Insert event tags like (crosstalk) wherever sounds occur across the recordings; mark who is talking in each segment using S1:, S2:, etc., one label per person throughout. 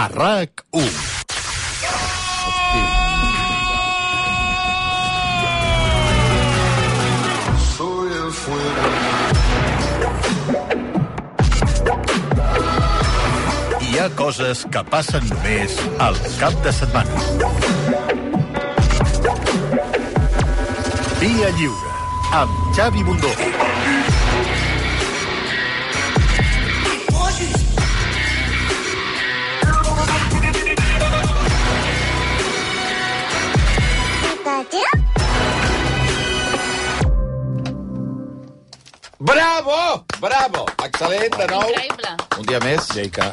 S1: a RAC1.
S2: Soy el fuego.
S1: Hi ha coses que passen només al cap de setmana. Via Lliure, amb Xavi Bundó.
S3: Bravo! Bravo! Excel·lent, de nou.
S4: Increïble.
S3: Un dia més. Jeica.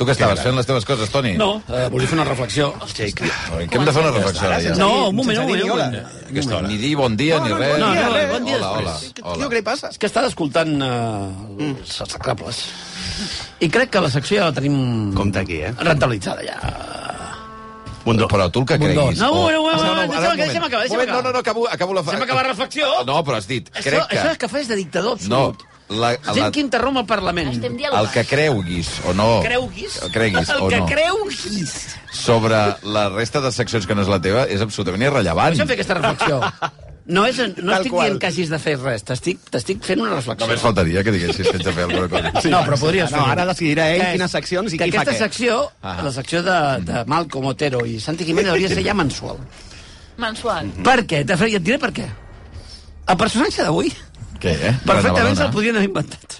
S3: Tu què estaves fent les teves coses, Toni?
S5: No, eh, volia fer una reflexió.
S3: Oi, Que hem de fer una reflexió ara, ja.
S5: No, un moment, un moment.
S6: Sense dir ni
S5: Un
S6: hola.
S5: moment. Aquesta hora.
S3: Ni dir bon dia, ni res.
S5: no, no, bon dia
S3: hola, hola,
S5: després.
S3: hola.
S6: Tio, què li passa?
S5: És que estava escoltant eh, els
S6: Mm.
S5: sacables. I crec que la secció ja la tenim...
S6: Compte aquí, eh?
S5: Rentabilitzada, ja.
S3: Bundó. Però tu el que creguis.
S5: No,
S3: o-
S5: no, no, no,
S3: Ah, ara,
S5: no,
S3: un
S5: deixa'm
S3: moment.
S5: acabar, deixa'm
S3: Moment,
S5: acabar.
S3: No, no, no, acabo, acabo la...
S5: Deixa'm acabar la reflexió.
S3: No, però has dit,
S5: Això,
S3: crec
S5: això és
S3: que...
S5: que fa és de dictador
S3: No,
S5: absolut.
S3: la,
S5: Gent
S3: la,
S5: que interromp el Parlament.
S4: Estem dialogant.
S3: el que creguis o
S6: Oh,
S3: no
S5: Creuguis?
S3: creguis
S5: el
S3: o
S5: que
S3: no
S5: creuguis.
S3: sobre la resta de seccions que no és la teva és absolutament irrellevant.
S5: Deixa'm fer aquesta reflexió. No, és, no estic
S6: qual.
S5: dient que hagis de fer res, t'estic t'estic fent una reflexió.
S3: Només faltaria que diguessis sense fer alguna cosa.
S5: No, però podries
S6: No,
S5: fer-ho.
S6: ara decidirà ell
S5: Que és-
S6: quines seccions i
S5: que
S6: qui fa
S5: aquesta
S6: què.
S5: secció,
S3: Ah.
S5: la secció de, de Malcom Otero i Santi
S6: (laughs)
S5: Jiménez hauria de ser ja mensual.
S3: Mm.
S4: Mensual.
S5: Per què? De fet, Ja et diré per què. El personatge d'avui,
S3: Què, eh?
S5: perfectament
S3: Badalona.
S5: se'l podien
S3: (laughs)
S5: haver inventat.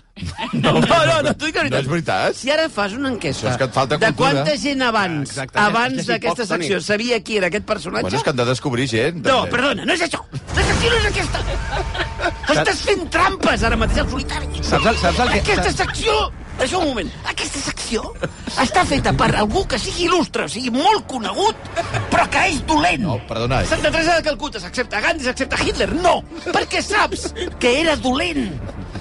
S5: No, no, no, no t'ho dic la veritat.
S3: No és veritat?
S5: Si ara fas una enquesta
S3: Això és que et falta
S5: de
S3: cultura.
S5: quanta gent abans,
S6: Exacte.
S5: abans
S6: Ah, És que és
S5: d'aquesta
S6: hipòctoni.
S5: secció sabia qui era aquest personatge...
S3: Bueno, és que han de descobrir gent.
S5: No,
S3: també.
S5: perdona, no és això. La secció no és aquesta. Estàs fent trampes ara mateix al solitari.
S6: Saps el- saps el que-
S5: Aquesta secció... Això un moment. Aquesta secció està feta per algú que sigui il·lustre, o sigui molt conegut, però que és dolent.
S3: No, perdona.
S5: Santa Teresa de Calcuta s'accepta Gandhi, s'accepta Hitler. No, perquè saps que era dolent.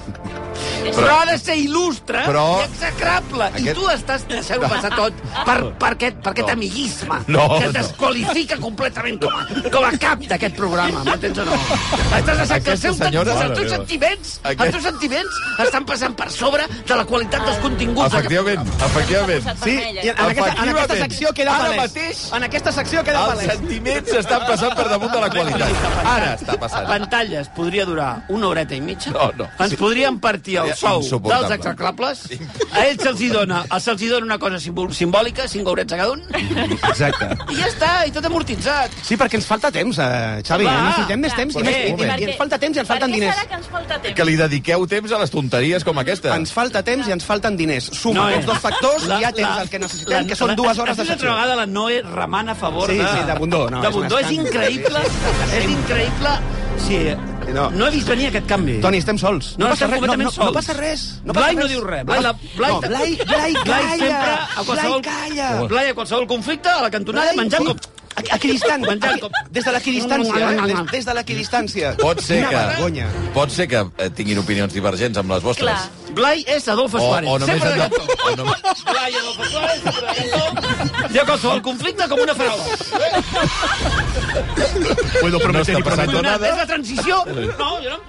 S5: Però, però ha de ser il·lustre
S3: Però-
S5: i execrable.
S3: Aquest-
S5: I tu estàs deixant-ho passar tot per, per aquest, per aquest amiguisme
S3: No,
S5: que
S3: no.
S5: desqualifica completament com a, com a cap d'aquest programa, m'entens o no? Estàs deixant que els
S3: Aquesta
S5: seus,
S3: senyora-
S5: els
S3: Mare
S5: teus
S3: meva.
S5: sentiments,
S3: Aquest-
S5: els teus sentiments estan passant per sobre de la qualitat dels continguts.
S3: Efectivament, efectivament.
S6: Sí, i en, aquesta, en aquesta
S3: Efectivament.
S6: secció queda
S3: Ara
S6: palès.
S3: mateix,
S6: En aquesta secció queda
S3: Els
S6: palès.
S3: sentiments estan passant per damunt de la qualitat. Ara està passant.
S5: Pantalles podria durar una horeta i mitja.
S3: No, no.
S5: Ens podrien partir el
S3: Seria
S5: sou
S3: insuportable.
S5: dels execrables. A ells se'ls hi dona, a se'ls hi dona una cosa simbol- simbòlica, cinc haurets a cada un.
S6: Exacte.
S5: I ja està, i tot amortitzat.
S6: Sí, perquè ens falta temps, eh, Xavi.
S5: Va.
S6: eh? Necessitem més temps i,
S3: Perquè-
S6: més, i, i,
S3: perquè-
S6: i ens falta temps i ens falten diners.
S4: Per què serà que ens falta temps?
S3: Que li dediqueu temps a les tonteries com aquesta.
S6: Ens falta temps i ens falten diners. Suma
S5: Noe.
S6: aquests dos factors
S5: La-
S6: i ja tens
S5: la-
S6: el que necessitem, que són dues hores de
S5: Has vist altra
S6: secció.
S5: vegada la Noe remant a favor
S6: Sí,
S5: de...
S6: sí, de Bundó, no,
S5: de
S6: és un
S5: Bundó. És,
S6: escàndol.
S5: increïble, és increïble. Sí, no.
S6: No.
S5: no he vist venir aquest canvi.
S6: Toni, estem sols.
S5: No, estem
S6: res, no,
S5: completament
S6: no, no
S5: sols.
S6: passa res. No passa
S5: Blai no
S6: res.
S5: diu res. Blai, la, Blai,
S6: no, Blai,
S5: Blai
S6: Blai, calla.
S5: sempre a qualsevol,
S6: Blai, calla.
S5: Blai a qualsevol conflicte a la cantonada
S6: Blai,
S5: menjant
S6: sí.
S5: com...
S6: Aquí- Equidistant,
S5: Menjant
S6: aquí-
S5: com-
S6: des de l'equidistància, eh? Des, des de l'equidistància.
S3: Pot ser
S6: Una
S3: que...
S6: vergonya.
S3: Pot ser que eh, tinguin opinions divergents amb les vostres.
S4: Clar.
S5: Blai és Adolfo
S3: O,
S5: Suárez.
S3: o només...
S5: sempre de
S3: han de-
S5: cantó.
S3: O només...
S5: Blai, Adolfo Suárez, sempre de cantó. I a qualsevol conflicte com una farola.
S3: Puedo prometer no està passant
S5: Vull donar-
S3: nada.
S5: És la transició. No, jo no.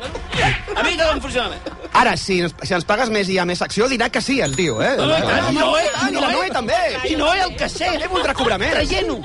S5: A mi tot em funciona bé.
S6: Ara, si, ens- si ens pagues més i hi ha més secció, dirà que sí, el tio, eh?
S5: No, no, i tant, i no, eh?
S6: I la Noé també.
S5: I no eh? és el que sé.
S6: També voldrà cobrar més.
S5: Traient-ho.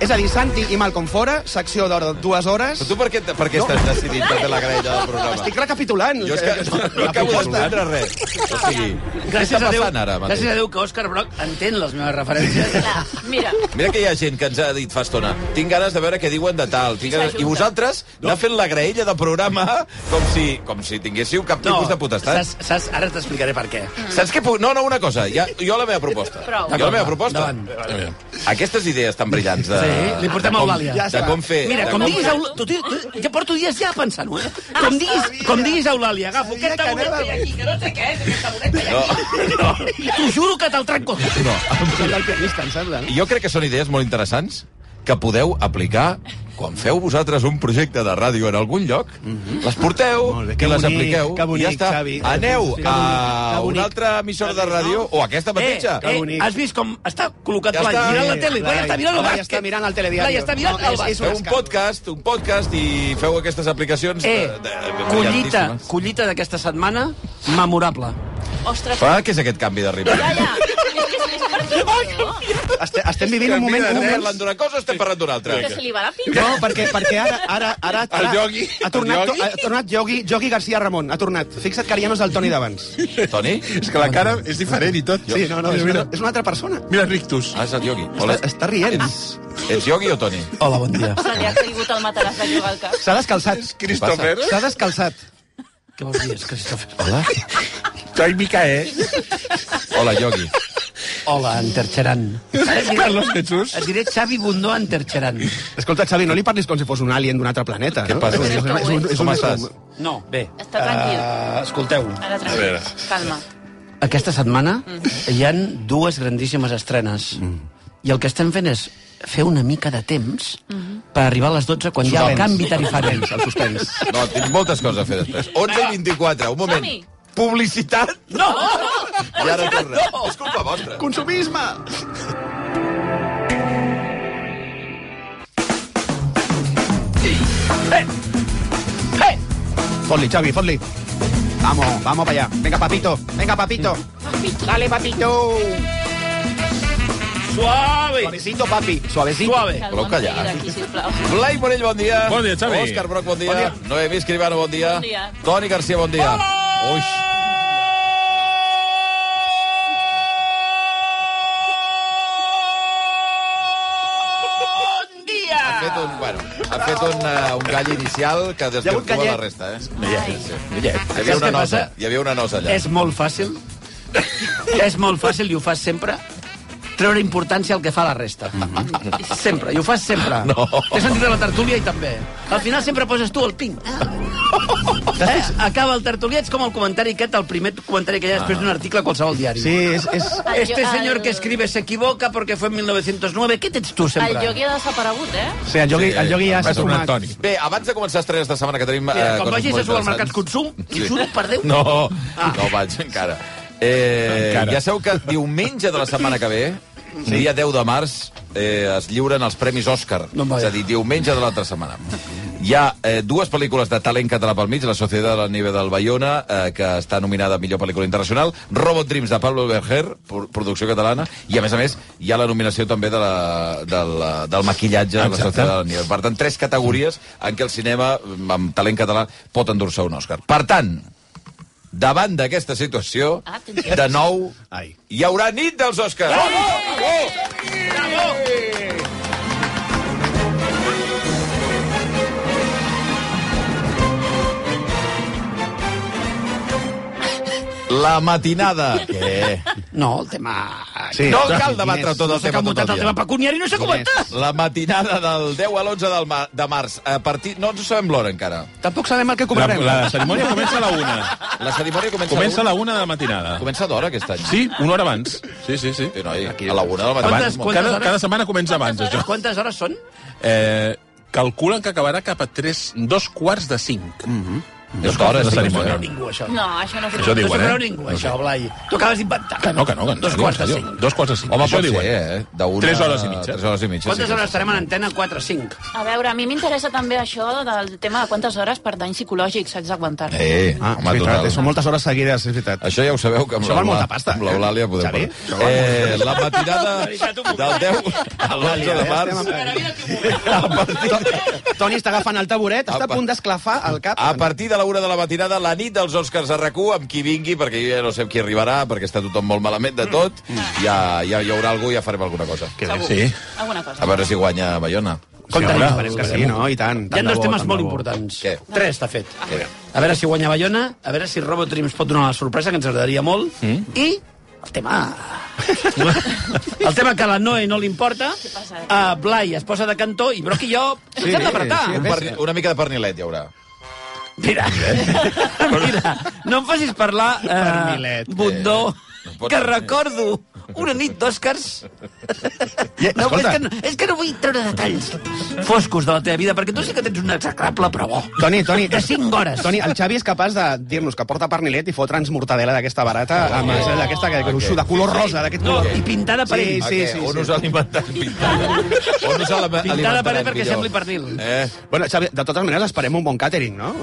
S6: És a dir, Santi i Malcom fora, secció d'hora de dues hores.
S3: Però tu per què, per què estàs decidint de fer la graella del programa?
S6: Estic recapitulant. eh,
S3: Jo és que no, no acabo d'entendre res. O sigui, què està passant ara mateix?
S5: gràcies a Déu que Òscar Broc entén les meves referències.
S4: Clar, mira,
S6: Ah.
S3: Mira que hi ha gent que ens ha dit fa estona tinc ganes de veure què diuen de tal. Tinc ganes... I vosaltres anar fent la graella de programa com si, com si tinguéssiu cap tipus de potestat.
S5: saps, saps, ara t'explicaré per què.
S3: Saps què puc... No, no, una cosa. Ja, jo la meva proposta.
S4: Prou.
S3: Jo la meva proposta.
S5: Endavant.
S3: Aquestes idees tan brillants de...
S5: Sí, li portem a
S3: de com-
S5: Eulàlia.
S6: Ja
S3: De
S6: està.
S3: com fer...
S5: Mira,
S3: de
S5: com
S4: com-
S5: diguis... Eul... Tu, tu, tu, ja porto dies ja pensant-ho, eh? Com diguis, com diguis a Eulàlia, agafo
S6: Sabia
S5: aquesta
S6: que
S5: boleta
S6: anava-
S5: aquí, que no sé què és, aquesta boleta
S3: No, no,
S5: aquí. T'ho juro que te'l trenco. Eh,
S3: no.
S6: El pianista, em sembla, no?
S3: Jo crec que són idees molt interessants que podeu aplicar quan feu vosaltres un projecte de ràdio en algun lloc, les porteu
S6: Mhm. Molt bé, que
S3: i les
S6: bonic,
S3: apliqueu
S6: que bonic,
S3: i ja està.
S6: Xavi.
S3: Aneu
S6: Que bonic,
S3: a
S6: que bonic.
S3: una altra emissora de ràdio o a aquesta mateixa.
S5: Eh, eh,
S6: bonic.
S5: has vist com està col·locat
S3: Ja
S5: ja
S3: està.
S5: mirant la
S3: Sí,
S5: tele. Blai
S6: Blai.
S5: està mirant el
S6: Blai
S5: bàsquet.
S6: està mirant el telediari.
S5: Blai està mirant
S6: No,
S5: el
S6: és- és
S5: bàsquet.
S3: Feu un podcast, un podcast i feu aquestes aplicacions de,
S5: Eh,
S3: de,
S5: collita,
S3: brillantíssimes.
S5: collita d'aquesta setmana, memorable.
S4: ostres,
S3: Fa què és aquest canvi de ritme?
S4: ja, ja. És que és- és-
S6: Este, estem vivint un moment...
S3: Estem
S6: Un moment
S3: parlant d'una cosa, estem parlant d'una altra.
S4: Que se li va la pinta.
S6: no, perquè, perquè ara... ara, ara,
S1: El
S6: ara
S1: Yogi.
S6: Ha tornat,
S1: El
S6: to-
S1: Yogi.
S6: ha tornat Yogi, Yogi García Ramon. Ha tornat. Fixa't que ara ja no és el Toni d'abans.
S3: Toni?
S1: És que la cara és diferent i tot.
S6: Sí, no, no, és una,
S1: mira,
S6: és una altra persona.
S1: mira Rictus.
S3: Ah, és el Yogi. Hola.
S6: Està, està rient.
S3: Ets Yogi o Toni?
S6: Hola, bon dia.
S4: Se li ha caigut el mataràs de llogar al cap.
S6: S'ha descalçat.
S1: Christopher.
S6: S'ha descalçat.
S3: Hola?
S1: Soy Micael.
S3: Hola, Yogi.
S5: Hola, Enterxeran. (laughs)
S1: Carlos Jesús.
S5: Eh, Et diré Xavi Bundó Enterxeran.
S6: Escolta, Xavi, no li parlis com si fos un alien d'un altre planeta.
S3: Què
S6: no?
S3: passa?
S6: És una- és un- és
S3: Com
S6: un-
S3: estàs?
S5: No, bé.
S4: Està tranquil.
S3: Ah.
S5: eh, escolteu,
S4: Ara
S1: veure.
S4: tranquil. Calma.
S5: aquesta setmana
S4: Mhm.
S5: hi han dues grandíssimes estrenes. I el que estem fent és fer una mica de temps
S4: Mhm.
S5: per arribar a les 12 quan hi ha el
S6: Suspens.
S5: canvi tarifari.
S6: El suspens.
S3: No, tinc moltes coses a fer després. 11 i 24, un moment.
S4: Som-hi.
S3: Publicitat? No! I ara torna. És culpa vostra.
S6: Consumisme! Fot-li, Xavi, fot-li. Vamos, vamos para allá. Venga, papito. Venga, papito. Dale, papito.
S1: Suave.
S6: Suavecito, papi. Suavecito.
S4: Calma,
S3: Voleu callar?
S4: Aquí, sisplau.
S3: Blai Morell, bon dia.
S1: Bon dia, Xavi.
S3: Òscar Broc, bon dia.
S6: Bon dia.
S3: Noemí Escribano, bon dia.
S4: Bon dia.
S3: Toni Garcia, bon dia. Ui. Ha fet un, bueno, ha fet un, uh, un gall inicial que desvirtua
S6: gallet.
S3: la resta, eh?
S4: Ai,
S3: Hi havia
S5: Saps
S3: una nosa,
S5: què passa?
S3: hi havia una nosa allà.
S5: És molt fàcil. És molt fàcil i ho fas sempre treure importància al que fa la resta. Sempre, i ho fas sempre.
S3: No.
S5: T'he sentit a la tertúlia i també. Al final sempre poses tu el ping. Eh? Acaba el tertúlia, ets com el comentari aquest, el primer comentari que hi ha després d'un article a qualsevol diari.
S6: Sí, és... és...
S5: Este
S4: El-
S5: señor que escribe se equivoca porque fue en 1909. Què tens tu
S4: El
S5: sempre?
S4: Yogi ha desaparegut, eh?
S6: Sí, el Yogi, el Yogi ja s'ha tornat.
S1: Toni.
S3: Bé, abans de començar estrenes de setmana que tenim...
S5: Mira,
S3: eh,
S5: quan
S3: coses
S5: vagis
S3: molt
S5: a supermercats
S3: interessants.
S5: Consum, t'hi juro per Déu.
S3: No, no vaig encara. Eh,
S1: Encara.
S3: Ja sabeu que diumenge de la setmana que ve, dia 10 de març, eh, es lliuren els Premis Òscar.
S5: No em vaya.
S3: és a dir, diumenge de l'altra setmana. Hi ha eh, dues pel·lícules de talent català pel mig, La Societat de la Nieve del Bayona, eh, que està nominada a millor pel·lícula internacional, Robot Dreams de Pablo Berger, pro- producció catalana, i a més a més hi ha la nominació també de la, de la, del maquillatge de La
S1: Exacte.
S3: Societat de la Nieve. Per tant, tres categories en què el cinema mm, amb talent català pot endur-se un Òscar. Per tant, davant d'aquesta situació,
S4: Atenció.
S3: de nou,
S6: Ai.
S3: hi haurà nit dels Òscars. La matinada. Què?
S5: No, el tema...
S6: Sí.
S3: No cal debatre tot el
S5: S'ha
S3: tema tot
S5: camutat
S3: el
S5: el tema
S3: dia.
S5: pecuniari, no s'ha comentat.
S3: La matinada del 10 a l'11 del ma de març. A partir... No ens sabem l'hora encara.
S6: Tampoc sabem el que
S1: La,
S6: cobrarem.
S1: la cerimònia comença a la una.
S3: La cerimònia comença,
S1: Comença a
S3: a la
S1: la una de la matinada.
S3: Comença d'hora aquest any.
S1: Sí, una hora abans. Sí, sí, sí.
S3: Sí, noi, a la una del matí.
S5: Quantes-
S1: Abans,
S5: quantes
S1: cada,
S5: hores?
S1: cada setmana comença abans, això.
S5: Quantes hores són?
S1: Eh, calculen que acabarà cap a tres, dos quarts de cinc. Mm.
S3: Dos hores,
S1: La
S3: sí,
S1: cerimònia.
S3: sí.
S5: Ningú, això.
S4: No, això no ho
S1: Això
S5: No
S1: diuen,
S5: s'ho creu
S1: eh?
S5: ningú, això, Blai. T'ho acabes d'inventar.
S1: Que no, que no. Que ens
S5: Dos
S1: diuen,
S5: quarts de
S1: que
S5: cinc.
S1: diu. Dos quarts de cinc.
S3: Home,
S1: això
S3: pot ser,
S1: diuen.
S3: eh? D'una...
S1: Tres hores i mitja.
S3: Tres hores i mitja,
S5: Quantes
S3: sí.
S5: hores estarem en antena? 4 5.
S4: A veure, a mi m'interessa també això del tema de quantes hores per danys psicològics haig d'aguantar.
S3: Eh,
S6: Ah, és veritat,
S3: total.
S6: són moltes hores seguides, és veritat.
S3: Això ja ho sabeu, que amb
S6: Això val
S3: l'Eulà-
S6: molta pasta,
S3: Amb l'Eulàlia
S6: eh?
S3: podem
S6: Xavi, això
S3: parlar. Eh, la matinada del 10 a l'11 de març. A partir,
S6: Toni està agafant el taburet, està
S3: Apa.
S6: a punt d'esclafar el cap.
S3: a partir de la una de la matinada, la nit dels Òscars a RAC1, amb qui vingui, perquè jo ja no sé amb qui arribarà, perquè està tothom molt malament de tot, ja, ja hi haurà algú i ja farem alguna cosa.
S4: Segur.
S1: Sí.
S4: Alguna
S3: A
S4: cosa.
S3: veure si guanya Bayona.
S5: Compte
S1: home.
S5: sí,
S6: Esperem que sí, no? I
S5: Hi ha
S6: tant. tant de
S5: dos
S6: bo,
S5: temes
S6: tant
S5: molt
S6: de bo.
S5: importants.
S3: Què?
S5: Tres, de fet.
S3: Què?
S5: A veure si guanya Bayona, a veure si Robotreams pot donar la sorpresa, que ens agradaria molt, i el tema... el tema que a la Noe no li importa,
S4: passa?
S5: a Blai es posa de cantó i Broc i jo ens hem d'apretar.
S6: sí,
S3: Un perni- Una mica de pernilet hi haurà.
S5: Mira, (laughs) mira, no em facis parlar, eh,
S6: Pernilet,
S5: Bundó,
S3: no pot
S5: que
S3: ser.
S5: recordo una nit d'Òscars.
S6: I,
S5: No, és
S6: escolta,
S5: que no, és que no vull treure detalls foscos de la teva vida, perquè tu sí que tens un execrable, però bo.
S6: Toni, Toni...
S5: De cinc hores.
S6: Toni, el Xavi és capaç de dir-nos que porta pernilet i fotre'ns mortadela d'aquesta barata, amb oh. d'aquesta que gruixo, de color rosa, d'aquest
S5: No,
S6: color...
S5: i pintada per ell.
S6: Sí,
S3: Ah,
S6: sí,
S3: què? On
S6: sí.
S3: us alimenten? Pintada. On us alime-
S5: Pintada per
S3: alimentaran
S5: ell perquè
S3: millor?
S5: sembli pernil.
S3: Eh?
S6: Bueno, Xavi, de totes maneres, esperem un bon càtering, no?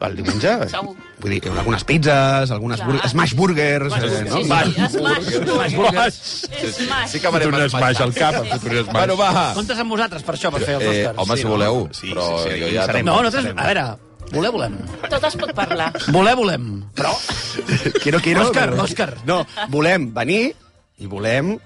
S6: el diumenge.
S4: Segur.
S6: Vull dir, algunes pizzas, algunes bur
S4: Clar.
S6: smash burgers... Eh, no?
S4: Sí,
S6: Va,
S4: sí, Smash.
S5: Smash Burgers.
S4: Smash.
S3: Sí que farem
S7: un smash al cap, hem fet un smash.
S3: Bueno, va.
S5: Comptes amb vosaltres per això, per fer els
S3: Eh,
S5: Oscars.
S3: home, si voleu,
S7: Sí,
S3: però
S7: sí, sí,
S3: jo
S7: hi
S3: ja...
S6: serem.
S5: No, nosaltres... A veure, voler volem.
S4: Tot es pot parlar.
S5: Voler volem. Però...
S6: Quiero, quiero...
S5: Òscar,
S6: però-
S5: Òscar.
S6: No, volem venir i volem...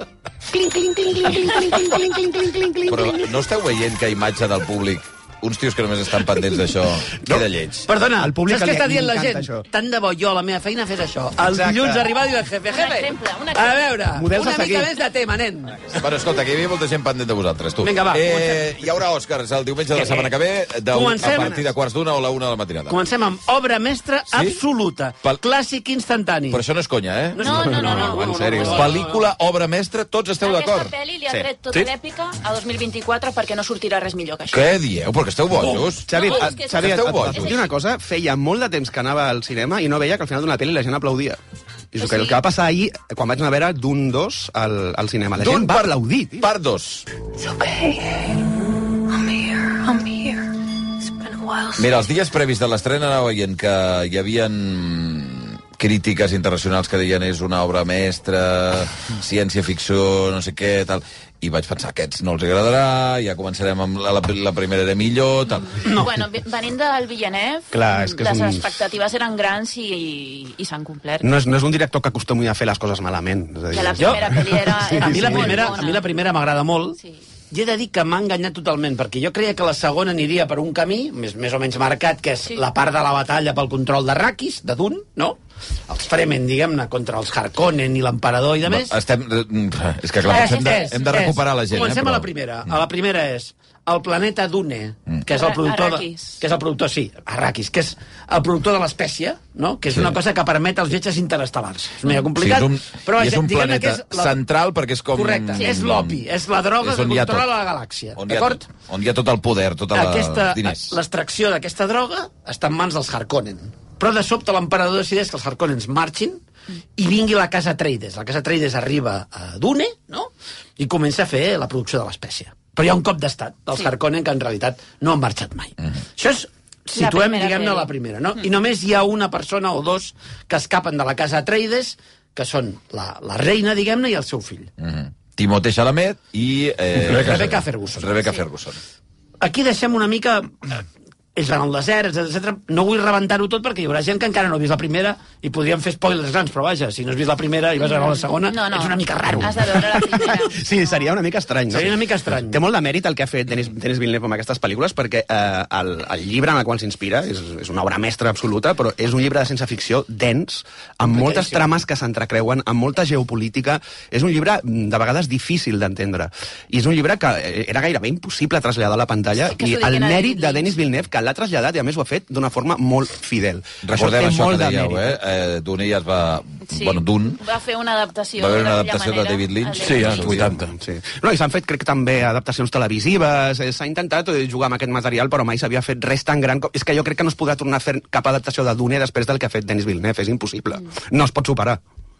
S3: Però no esteu veient que imatge del públic uns tios que només estan pendents d'això queda lleig.
S5: Perdona,
S6: Al públic
S5: saps què
S6: li-
S5: està
S6: li
S5: dient la
S6: encanta
S5: gent?
S6: això.
S5: Tant de bo jo a la meva feina fes això. El
S6: Exacte.
S5: dilluns arribar i dir al jefe,
S4: Un
S5: jefe,
S4: exemple, un
S5: a
S4: exemple.
S5: veure,
S6: Models a
S5: una mica
S6: seguir.
S5: més de tema, nen.
S3: Bueno, escolta, que hi havia molta gent pendent de vosaltres, tu.
S5: Vinga, va,
S3: eh, hi haurà Òscars el diumenge de la setmana que ve, de un, a
S5: Comencem.
S3: partir de quarts d'una o la una de la matinada.
S5: Comencem amb obra mestra
S3: Sí?
S5: absoluta,
S3: Pel-
S5: clàssic instantani.
S3: Però això no és conya, eh?
S4: No, no, no, no, no,
S3: en
S4: no,
S3: sèrio.
S4: no, no, no.
S3: Pel·lícula, obra mestra, tots esteu
S4: Aquesta
S3: d'acord?
S4: pel·li li ha
S3: Sí.
S4: tret tota
S1: Sí.
S4: l'èpica a 2024 perquè no sortirà res millor que això.
S3: Què dieu? Perquè esteu bojos?
S6: Xavi,
S4: No,
S6: no,
S4: és que-
S6: Xavi et,
S3: Esteu
S6: et,
S3: bojos.
S6: et puc dir una cosa, feia molt de temps que anava al cinema i no veia que al final d'una pel·li la gent aplaudia. I és el que, el que va passar ahir, quan vaig anar a veure d'un dos al, al cinema. La gent
S3: Dune
S6: va
S3: part-
S6: aplaudir, tio.
S3: Part 2. Mira, els dies previs de l'estrena anava veient que hi havien crítiques internacionals que deien és una obra mestra, ciència-ficció, no sé què, tal. I vaig pensar, aquests no els agradarà, ja començarem amb la, la, la primera era millor, tal.
S4: No. Bueno, ve- venint del Villeneuve,
S6: Clar, és que és
S4: les
S6: un-
S4: expectatives eren grans i, i s'han complert.
S6: No és, no és un director que acostumi a fer les coses malament. És a dir,
S4: Que la primera pel·li era, era
S5: A mi la
S4: molt
S5: primera,
S4: bona.
S5: a mi la primera m'agrada molt.
S4: Sí.
S5: I he de dir que m'ha enganyat totalment, perquè jo creia que la segona aniria per un camí, més, més o menys marcat, que és
S4: Sí.
S5: sí. la part de la batalla pel control de Rakis, de Dun, no? Els Fremen, diguem-ne, contra els Harkonnen i l'emperador i de més.
S3: Estem... És que clar,
S5: Eh,
S3: hem de,
S5: és,
S3: hem de recuperar
S5: és.
S3: la gent.
S5: Comencem
S3: eh, però- Mm.
S5: a la primera. A la primera és el planeta Dune, que és el
S4: Ara-
S5: productor... De,
S4: Arrakis.
S5: que és el productor, sí, Arrakis, que és el productor de l'espècie, no? que és
S3: Sí. Mm.
S5: una cosa que permet els viatges interestel·lars. És medio
S3: Sí,
S5: complicat,
S3: és un,
S5: però
S3: i és
S5: vaja,
S3: un
S5: diguem-ne
S3: planeta
S5: que és la-
S3: central perquè és com...
S5: Correcte, és l'opi, és la droga
S3: És
S5: que
S3: on hi ha
S5: controla
S3: tot.
S5: la galàxia,
S3: On hi ha
S5: d'acord?
S3: tot, On hi ha tot el poder, tota la...
S5: Aquesta, eh,
S3: els diners.
S5: l'extracció d'aquesta droga està en mans dels Harkonnen. Però de sobte l'emperador decideix que els Harkonnens marxin i vingui la casa Traides. La casa Traides arriba a Dune, no? I comença a fer la producció de l'espècie. Però hi ha un cop d'estat dels sí. Harkonnen que en realitat no han marxat mai.
S3: Mhm.
S5: Mm. Això és situem,
S4: primera
S5: diguem-ne,
S4: pel·li.
S5: la primera, Mhm. no? I només hi ha una persona o dos que escapen de la casa Atreides, que són la, la reina, diguem-ne, i el seu fill.
S3: Mhm. Timothée Chalamet i... Eh,
S5: Rebecca Rebecca Ferguson.
S3: Rebecca Ferguson.
S5: aquí deixem una mica... eh, Ells van al desert, etc. No vull rebentar-ho tot perquè hi haurà gent que encara no ha vist la primera i podríem fer spoilers grans, però vaja, si no has vist la primera i vas a veure la segona,
S4: No, no.
S5: és una mica raro.
S4: Has de veure la primera.
S6: (laughs) Sí, seria una mica estrany. No?
S5: Seria una mica estrany.
S6: Té molt de mèrit el que ha fet Denis, Denis Villeneuve amb aquestes pel·lícules perquè eh, el, el llibre en el qual s'inspira és, és una obra mestra absoluta, però és un llibre de ciència ficció dens, amb moltes trames que s'entrecreuen, amb molta geopolítica. És un llibre mm, de vegades difícil d'entendre. I és un llibre que eh, era gairebé impossible traslladar a la pantalla
S4: Sí, que
S6: i
S4: s'ho
S6: el
S4: diguin a
S6: mèrit de
S4: David
S6: Denis Villeneuve que l'ha traslladat i a més ho ha fet d'una forma molt fidel.
S3: Recordem
S6: té
S3: això,
S6: molt
S3: que
S6: de
S3: dèieu,
S6: mèrit.
S3: eh? eh? Dune ja es va...
S4: Sí.
S3: Bueno, Dune...
S4: Va fer una adaptació.
S3: Va haver una
S4: d'aquella
S3: adaptació de
S4: manera,
S3: David Lynch.
S4: a
S1: Sí,
S4: David
S1: als 80.
S4: Lynch.
S6: Sí. No, i s'han fet, crec, també adaptacions televisives, eh, s'ha intentat eh, jugar amb aquest material, però mai s'havia fet res tan gran. Com... És que jo crec que no es podrà tornar a fer cap adaptació de Dune després del que ha fet Denis Villeneuve, és impossible.
S4: Mm.
S6: No es pot superar,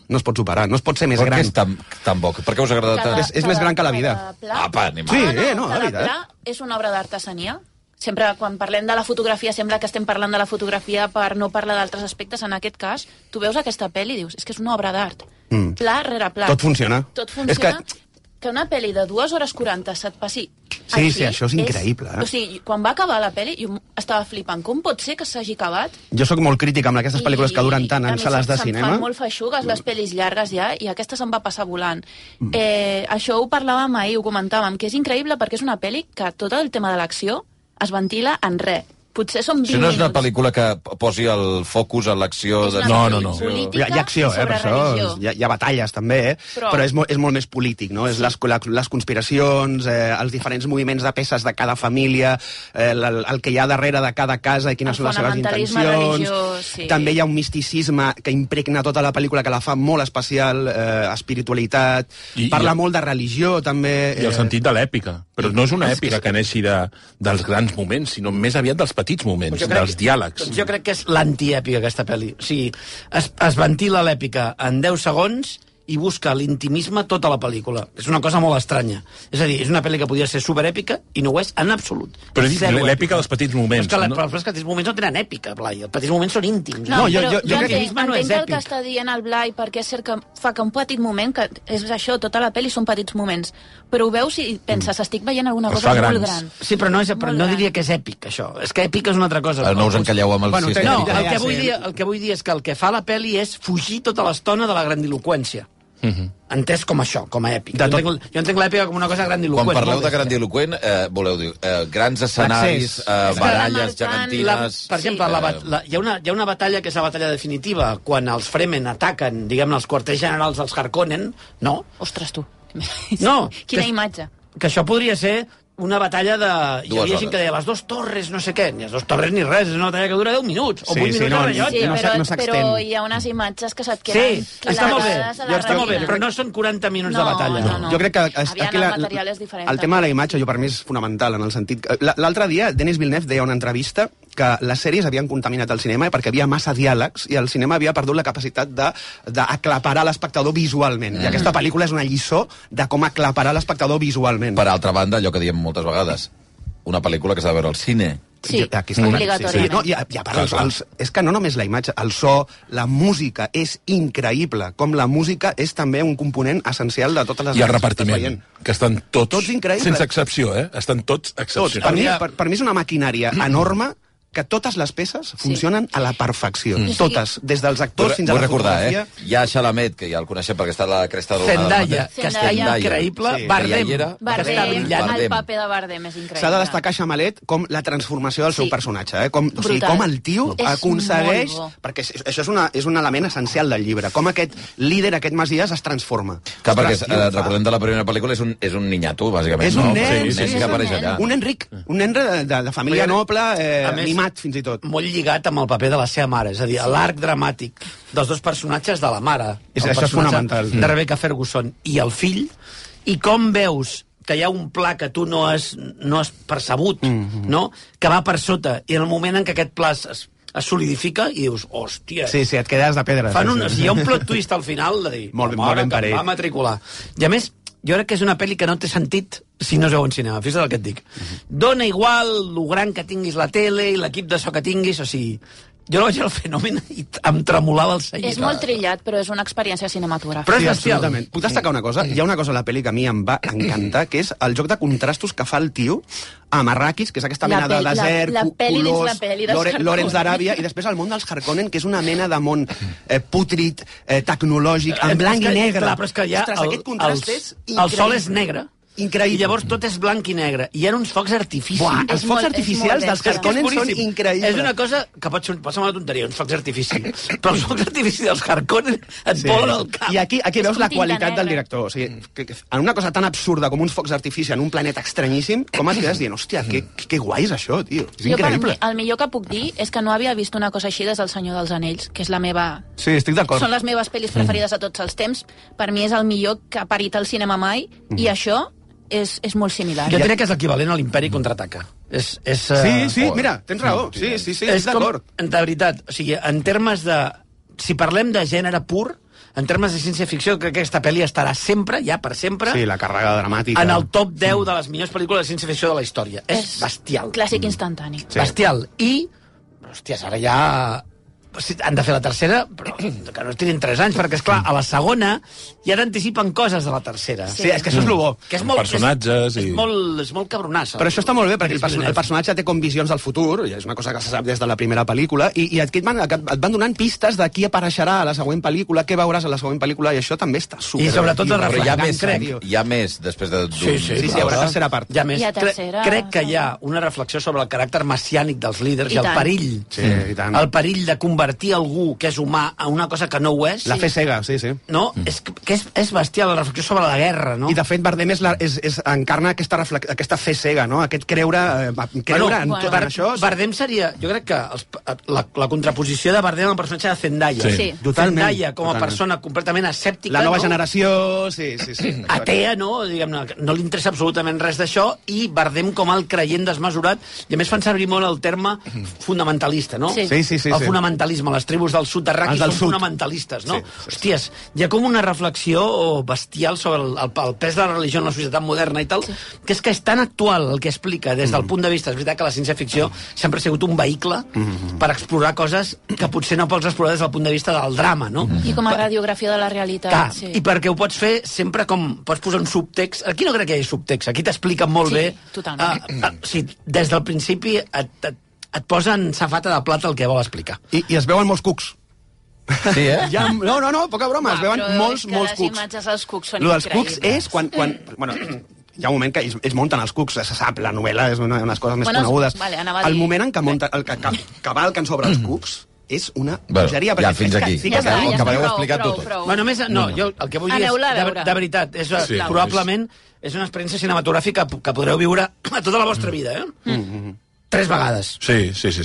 S6: no es pot superar, no es pot ser més
S3: Per què
S6: gran.
S3: és tan, tan bo? Per què us ha agradat
S4: Cada-
S3: tant?
S6: És- és més gran que la vida.
S4: cada pla- Ah,
S3: Apa, anem.
S6: Sí, eh, no,
S4: cada
S6: de veritat.
S4: pla és una obra d'artesania. Sempre, quan parlem de la fotografia, sembla que estem parlant de la fotografia per no parlar d'altres aspectes. En aquest cas, tu veus aquesta pel·li i dius, és que és una obra d'art.
S6: Mm.
S4: Pla rere pla.
S6: Tot funciona.
S4: Tot
S6: És que-
S4: funciona. Que... que una pel·li de 2 hores 40 se't passi
S6: Sí,
S4: així
S6: sí, això és increïble, eh?
S4: O sigui, quan va acabar la pel·li, jo estava flipant. Com pot ser que s'hagi acabat
S6: Jo sóc molt crític amb aquestes pel·lícules que duren tant
S4: i a
S6: en
S4: mi
S6: sales de
S4: se'm
S6: cinema.
S4: fan molt feixugues les pel·lis llargues ja, i aquesta se'n va passar volant.
S3: Mm.
S4: Eh, això ho parlàvem ahir, ho comentàvem, que és increïble perquè és una pel·li que tot el tema de l'acció es ventila en res. Potser són 20
S3: Això no és una
S4: minuts.
S3: pel·lícula que posi el focus a l'acció...
S4: És
S3: De...
S4: una
S1: No,
S4: pel·li
S1: no, no.
S6: Hi
S4: política
S6: ha, hi ha acció,
S4: i
S6: eh, per
S4: sobre
S6: això.
S4: religió.
S6: Hi ha, hi ha batalles, també, eh? Però,
S4: Però-
S6: però és, molt, és molt més polític, no? És les, la, les conspiracions, eh, els diferents moviments de peces de cada família, eh, el, el que hi ha darrere de cada casa i
S4: El
S6: quines són les seves
S4: fonamentalisme
S6: intencions.
S4: religiós, sí.
S6: També hi ha un misticisme que impregna tota la pel·lícula, que la fa molt especial, eh, espiritualitat...
S1: I-
S6: I, Parla
S1: i-
S6: molt de religió, també... eh,
S1: I el sentit de l'èpica. Però no és una èpica que neixi de, dels grans moments, sinó més aviat dels petits moments,
S5: Jo
S1: crec...
S5: crec-
S1: dels diàlegs.
S5: Doncs jo crec que és l'antièpica, aquesta pel·li. O sigui, es, es ventila l'èpica en 10 segons i busca l'intimisme tota la pel·lícula. És una cosa molt estranya. És a dir, és una pel·li que podia ser superèpica i no ho és en absolut.
S1: Però he dit
S5: Zero
S1: l'èpica dels petits moments,
S5: Però és que, la,
S1: no?
S5: però és que els petits moments no tenen èpica, Blai. Els petits moments són íntims.
S4: No, no jo, jo, jo
S5: crec que-
S4: entenc,
S5: no és
S4: entenc el que
S5: èpic.
S4: està dient el Blai, perquè és cert que fa que un petit moment, que és això, tota la pel·li són petits moments, però ho veus i
S3: Mm.
S4: penses, estic veient alguna
S1: Els
S4: cosa
S1: fa
S4: molt
S1: grans.
S4: gran.
S5: Sí, però no, és, però
S4: Molt
S5: no
S4: gran.
S5: diria que és èpic, això. És que èpic és una altra cosa.
S3: Ara Ah, no us encalleu amb el
S6: Bueno,
S3: sistema.
S5: No,
S6: Ja,
S5: el
S6: ja
S5: que,
S6: sé.
S5: vull dir, el que vull dir és que el que fa la pel·li és fugir tota l'estona de la grandiloquència.
S3: Mhm.
S5: Entès com això, com a èpic.
S6: De
S5: Jo
S6: tot.
S5: entenc, jo entenc l'èpica com una cosa grandiloquent.
S3: Quan parleu
S5: molt
S3: de
S5: bé.
S3: grandiloquent, eh, voleu dir eh, grans escenaris,
S6: L'accés.
S3: eh,
S4: És que la
S3: baralles
S4: marcant-
S5: La,
S3: gegantines...
S5: per exemple,
S4: Sí.
S3: eh,
S5: la, bat- la, hi, ha una, hi ha una batalla que és la batalla definitiva, quan els Fremen ataquen, diguem-ne, els quarters generals dels Harkonnen, no?
S4: Ostres, tu.
S5: No,
S4: (laughs) Quina
S5: que-
S4: imatge.
S5: que això podria ser una batalla de... Hi
S3: Dues
S5: havia gent
S3: hores.
S5: que deia les dues torres, no sé què, ni les dues torres ni res, és una batalla que dura 10 minuts, o
S6: Sí,
S5: 8
S6: sí,
S5: minuts
S6: no,
S5: de
S4: Sí,
S5: rellotge.
S6: no s'ha-
S4: però,
S6: no s'extén.
S4: però hi ha unes imatges que se't
S5: Sí,
S4: queden
S5: està molt bé,
S4: clavades a la
S5: ja està molt bé,
S4: retina.
S5: però no són 40 minuts de
S4: No,
S5: batalla.
S4: no, no.
S6: Jo crec que es-
S4: Aviam, el material és diferent,
S6: el tema de la imatge jo per mi és fonamental en el sentit... que- la- L'altre dia Denis Villeneuve deia a una entrevista que les sèries havien contaminat el cinema perquè hi havia massa diàlegs i el cinema havia perdut la capacitat de- d'aclaparar l'espectador visualment. I aquesta pel·lícula és una lliçó de com aclaparar l'espectador visualment.
S3: Per altra banda, allò que diem moltes vegades, una pel·lícula que s'ha de veure al cine.
S4: Sí,
S6: Jo- aquí està.
S4: obligatòriament.
S6: Sí, no, i, a- i a part,
S3: Clar,
S6: els,
S3: clar.
S6: els, és que no només la imatge, el so, la música és increïble, com la música és també un component essencial de totes les...
S1: I el
S6: pel·lis que estàs
S1: repartiment,
S6: veient.
S1: que estan tots,
S6: Tots increïbles.
S1: sense excepció, eh? Estan tots
S6: Tots. Per,
S1: excepcionals.
S6: mi,
S5: Hauria-
S6: per, per mi és una maquinària
S3: Mm.
S6: enorme que totes les peces funcionen a la perfecció.
S4: sigui-
S6: Totes, des dels actors fins a
S3: Mm. Vull
S6: la
S3: recordar, eh?
S6: fotografia.
S3: Hi ha Xalamet, que ja el coneixem perquè està a la cresta d'una...
S5: Zendaya, que està
S4: Zendaya.
S5: increïble,
S6: Sí.
S5: Bardem,
S3: Que ja hi era.
S5: que està
S4: Bardem,
S5: brillant.
S4: el
S3: Bardem.
S4: paper de Bardem és increïble.
S6: S'ha de destacar Xamalet com la transformació del seu
S4: Sí.
S6: personatge, eh? com, o sigui,
S4: Brutal.
S6: com el tio
S4: És
S6: aconsegueix...
S4: molt bo.
S6: Perquè és- això és, una, és un element essencial del llibre, com aquest líder, aquest Masies, es transforma.
S3: Que perquè,
S6: Ostres, tio,
S3: eh,
S6: fa-
S3: recordem de la primera pel·lícula, és un, és un ninyato, bàsicament.
S6: És un
S3: no?
S6: nen,
S3: sí,
S1: sí,
S3: nen
S1: sí,
S3: que
S4: és un
S3: apareix
S4: nen.
S3: allà.
S6: Un Enric, un nen de, de, de família
S5: Oigan,
S6: noble, eh,
S5: a més-
S6: mimat fins i tot.
S5: molt lligat amb el paper de la seva mare, és a dir, l'arc dramàtic dels dos personatges de la mare.
S6: És-
S5: el
S6: això és
S5: personatge
S6: fonamental.
S5: De Rebecca Ferguson i el fill, i com veus que hi ha un pla que tu no has, no has percebut,
S6: Mhm.
S5: no? que va per sota, i en el moment en què aquest pla es, es solidifica i dius, hòstia,
S6: Sí, sí, et quedes de pedra.
S5: Fan un, o
S6: sí, sí.
S5: sigui, hi ha un plot twist al final de dir...
S6: Molt ben-
S5: "Mare,
S6: molt ben
S5: que em
S6: parit."
S5: Va matricular. I a més, jo crec que és una pel·li que no té sentit si no es veu en cinema, fixa't el que et dic.
S6: Mhm.
S5: Dona igual lo gran que tinguis la tele i l'equip de so que tinguis, o sigui... Jo la vaig veure al fenomen i t- em tremolava el seient.
S4: És molt trillat, però és una experiència cinematogràfica.
S5: Però és
S6: sí,
S5: bestial.
S6: absolutament. Puc destacar una cosa? Hi ha una cosa a la pel·li que a mi em va encantar, que és el joc de contrastos que fa el tio a Marrakis, que és aquesta
S4: La
S6: mena de
S4: pel- la-
S6: desert,
S4: la
S6: cu-
S4: pel·li dins la
S6: colors,
S4: pel·li dels
S6: Lore-
S4: Harkonnen.
S6: Lorenz d'Aràbia, i després el món dels Harkonnen, que és una mena de món eh, pútrid, eh, tecnològic,
S5: Eh,
S6: en blanc
S5: és que-
S6: i negre.
S5: Clar, però és que ja
S6: Ostres,
S5: el,
S6: aquest contrast
S5: el,
S6: és
S5: el
S6: increïble.
S5: sol és negre.
S6: Increïble.
S5: I llavors tot és blanc i negre. I hi ha uns focs artificis.
S6: Buah,
S4: És molt-
S6: els focs
S4: és molt
S6: artificials
S4: bé.
S6: dels
S4: És que és
S6: Harkonnen són
S5: boníssim.
S6: increïbles.
S5: És una cosa que pot, ser- pot semblar una tonteria, uns focs d'artifici. (laughs) però els focs d'artifici dels Harkonnen et
S6: Sí.
S5: volen al cap.
S6: I aquí, aquí
S4: És
S6: veus
S4: com
S6: la
S4: tinta
S6: qualitat
S4: negra.
S6: del director. O sigui, que, que, en una cosa tan absurda com uns focs d'artifici en un planeta estranyíssim, com et quedes dient, hòstia, que, que, que guai és això, tio. És
S4: Jo, per mi,
S6: increïble.
S4: el millor que puc dir és que no havia vist una cosa així des del Senyor dels Anells, que és la meva...
S6: Sí, estic d'acord.
S4: Són les meves pel·lis
S5: Mm.
S4: preferides de tots els temps. Per mi és el millor que ha parit el cinema mai, i això és, és molt similar.
S5: Mm. Jo crec que és l'equivalent a l'imperi contraataca. És, és, eh,
S6: Sí, sí, mira, tens raó. Sí, sí, sí, estic
S5: com,
S6: d'acord.
S5: de veritat, o sigui, en termes de... Si parlem de gènere pur, en termes de ciència-ficció, crec que aquesta pel·li estarà sempre, ja per sempre,
S6: Sí, Mm. la càrrega dramàtica.
S5: en el top 10 de les millors pel·lícules de ciència-ficció de la història. És, bestial.
S4: Clàssic instantani.
S6: Sí.
S5: Sí. Bestial. I, hòsties, ara ja sí, han de fer la tercera, però que no tirin 3 anys, perquè, és clar a la segona ja t'anticipen coses de la tercera.
S6: Sí, és que això és lo bo.
S5: Que és molt,
S1: Personatges
S5: és, és,
S1: i-
S5: molt, és molt cabronassa.
S6: Però això està molt bé, perquè el, perso
S5: Villeneuve.
S6: el personatge té com visions del futur, i és una cosa que se sap des de la primera pel·lícula, i, i et, van, et van donant pistes de qui apareixerà a la següent pel·lícula, què veuràs a la següent pel·lícula, i això també està super...
S5: sobretot el
S3: Però hi ha
S5: Reflectant,
S3: més,
S5: crec.
S3: hi ha més després de...
S5: Sí, sí,
S6: Sí, sí, hi haurà tercera part.
S5: Ja més,
S4: Hi ha
S5: cre
S4: tercera,
S5: crec que
S4: sí.
S5: hi ha una reflexió sobre el caràcter messiànic dels líders
S4: I
S5: i, el
S4: tant.
S5: perill. Mm.
S6: Sí, i tant.
S5: El perill de convertir algú que és humà a una cosa que no ho és.
S6: La fe cega, sí, sí.
S5: No, és, que- que és, és bestial la reflexió sobre la guerra, no?
S6: I, de fet, Bardem és la, és, és, encarna aquesta, reflex, aquesta fe cega, no? Aquest creure, eh, va- creure bueno, en
S4: bueno.
S6: tot
S4: Bar-
S6: bueno. això.
S5: Bardem seria... Jo crec que els, la, la contraposició de Bardem al personatge de Zendaya.
S1: Sí.
S4: Sí.
S6: Totalment,
S5: Zendaya com a
S6: totalment.
S5: persona completament escèptica.
S6: La nova
S5: no?
S6: generació... Sí, sí,
S4: (clears throat)
S6: sí.
S5: atea, no? Diguem-ne, que no li interessa absolutament res d'això, i Bardem com el creient desmesurat, i a més fan servir molt el terme fundamentalista, no?
S4: Sí.
S6: Sí, sí, sí,
S5: El
S6: sí.
S5: nacionalisme, les tribus del sud de Raqui
S6: Els del
S5: són
S6: sud.
S5: fonamentalistes, no?
S3: Sí,
S5: Sí, Hòsties, hi ha com una reflexió bestial sobre el, el, el pes de la religió en la societat moderna i tal, que és que és tan actual el que explica des del punt de vista... És veritat que la ciència-ficció sempre ha sigut un vehicle per explorar coses que potser no pots explorar des del punt de vista del drama, no?
S4: I com a
S5: Per-
S4: radiografia de la realitat.
S5: Clar,
S4: sí.
S5: i perquè ho pots fer sempre com... Pots posar un subtext... Aquí no crec que hi hagi subtext, aquí t'explica molt
S4: Sí,
S5: bé...
S4: totalment.
S5: Uh, uh, sí, des del principi et, et, et posa en safata de plata el que vol explicar.
S6: I, I es veuen molts cucs.
S3: Sí, eh?
S6: Ja, no, no, no, poca broma,
S4: Home,
S6: es veuen
S4: però
S6: molts,
S4: és que
S6: molts
S4: les
S6: cucs.
S4: imatges dels cucs són
S6: Lo dels
S4: increïbles.
S6: cucs és quan... quan bueno, hi ha un moment que ells, ells munten els cucs, se sap, la novel·la és una de les coses més
S4: Bueno,
S6: conegudes.
S4: vale, anava a
S6: el
S4: dir-
S6: moment en què, munta, el, que, que, que valquen sobre els cucs és una
S3: Bueno,
S6: bogeria.
S3: ja
S6: perquè
S3: fins
S6: és que
S3: aquí.
S4: Ja
S6: fiques
S4: està,
S6: el-
S4: ja
S3: acabareu
S4: està,
S3: explicat
S4: prou,
S3: tot.
S4: prou,
S5: Bueno,
S4: prou.
S5: només, no, jo el que vull dir és,
S4: Aneu-la a
S5: de,
S4: veure.
S5: de veritat, és
S1: Sí,
S5: sí,
S1: clar.
S5: probablement és una experiència cinematogràfica que podreu viure (clears throat) a tota la vostra vida, eh? Mm. Tres vegades.
S1: Sí, sí, sí. sí.
S6: Sí,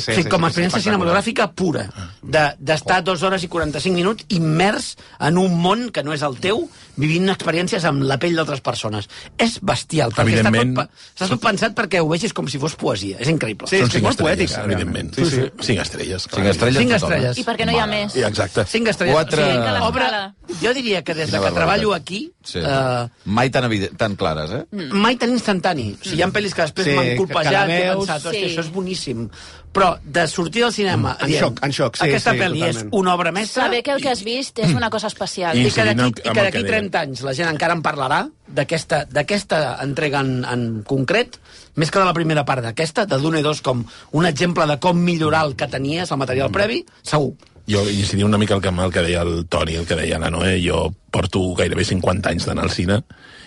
S5: Sí,
S6: sí,
S5: sí,
S6: sí,
S5: com a
S6: sí, sí,
S5: experiència
S6: espectacular. Ah.
S5: cinematogràfica pura, de- d'estar de, dues hores i 45 minuts immers en un món que no és el teu, vivint experiències amb la pell d'altres persones. És bestial, perquè està tot,
S1: Evidentment.
S5: pa- està tot pensat perquè ho vegis com si fos poesia. És increïble.
S6: Sí,
S1: Són
S6: és que és
S1: cinc
S6: molt poètic.
S1: estrelles,
S6: realment.
S1: evidentment.
S6: Sí, sí.
S1: Cinc estrelles. clar.
S3: Cinc estrelles.
S5: Cinc
S3: tothom, eh?
S5: estrelles.
S4: I per què no hi ha més?
S1: Sí, Exacte.
S5: Cinc estrelles.
S3: Quatre-
S5: O sigui,
S3: Cinc a
S5: obra,
S4: l'escala.
S5: jo diria que des
S3: Quina
S5: de
S3: barbaritat.
S5: que treballo aquí...
S3: Sí.
S5: eh,
S3: Mai tan, evident, tan clares, eh?
S4: Mm.
S5: mai tan instantani. O sigui, hi ha pel·lis que després
S6: Mm. Sí,
S5: sí, m'han
S6: que la
S5: colpejat i he
S6: veus-
S5: pensat, hòstia,
S4: Sí.
S5: això és boníssim. Però de sortir del cinema...
S6: Mm. En
S5: dient,
S6: xoc, en xoc, sí,
S5: Aquesta
S6: sí,
S5: pel·li és
S6: totalment.
S5: una obra mestra
S4: Saber que el que has vist és una cosa especial.
S1: I-
S4: (laughs)
S5: i que
S1: Incidint amb-
S5: d'aquí i
S1: amb
S5: que
S1: el
S5: d'aquí
S1: que
S5: 30 anys la gent encara en parlarà d'aquesta d'aquesta entrega en, en concret, més que de la primera part d'aquesta, de Dune 2 com un exemple de com millorar el que tenies, el
S3: Mm.
S5: material previ, segur.
S1: Jo incidia una mica el que, el que deia el Toni, el que deia la Noé. Jo porto gairebé 50 anys d'anar al cine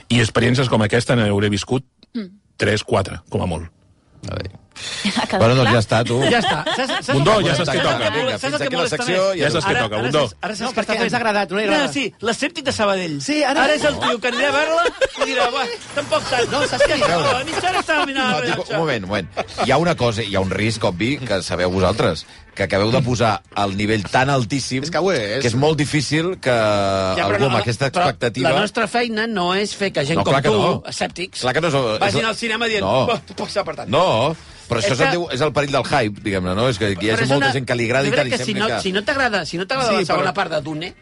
S1: i experiències com aquesta n'hauré viscut 3, 4, com a molt.
S4: Ha quedat
S3: Bueno, doncs
S4: clar?
S3: ja està, tu.
S5: Ja està. Saps, saps el
S1: Bundó,
S5: que
S1: ja
S5: molesta?
S1: saps què toca.
S5: el que
S3: Vinga,
S5: saps el
S3: fins
S5: que
S3: aquí la
S5: molesta
S3: secció,
S5: més?
S3: ja
S1: saps què
S5: Ara-
S1: toca,
S5: ara
S1: Bundó.
S5: saps- Ara saps
S6: No, perquè
S5: què
S6: ens ha agradat, no li
S5: No,
S6: agrada.
S5: sí, l'escèptic de Sabadell.
S6: Sí, ara-
S5: Ara és el tio que anirà a veure-la i dirà, va, tampoc tant. No, saps què? No, a mitja hora estava mirant
S3: No,
S5: el
S3: dic, un
S5: rellotge.
S3: moment, un moment. Hi ha una cosa, hi ha un risc, obvi, que sabeu vosaltres, que acabeu de posar el nivell tan altíssim
S6: És que ho és.
S3: que és molt difícil que ja,
S5: però
S3: algú amb
S5: no,
S3: aquesta
S5: però
S3: expectativa...
S5: La nostra feina no és fer que gent
S3: No,
S5: com
S3: clar que
S5: tu,
S3: no.
S5: escèptics,
S3: Clar que no és... és
S5: vagin
S3: la-
S5: al cinema dient...
S3: No,
S5: "Pots- Pots ser apartat.
S3: no però això és,
S5: És que-
S3: diu, és el perill del hype, diguem-ne, no? És que hi ha
S5: Però és
S3: molta
S5: una-
S3: gent que li agrada
S5: jo
S3: i tal,
S5: crec
S3: i
S5: que si
S3: sembla
S5: no,
S3: que...
S5: Si no t'agrada si no t'agrada
S6: Sí,
S5: la segona
S6: però-
S5: part de Dune,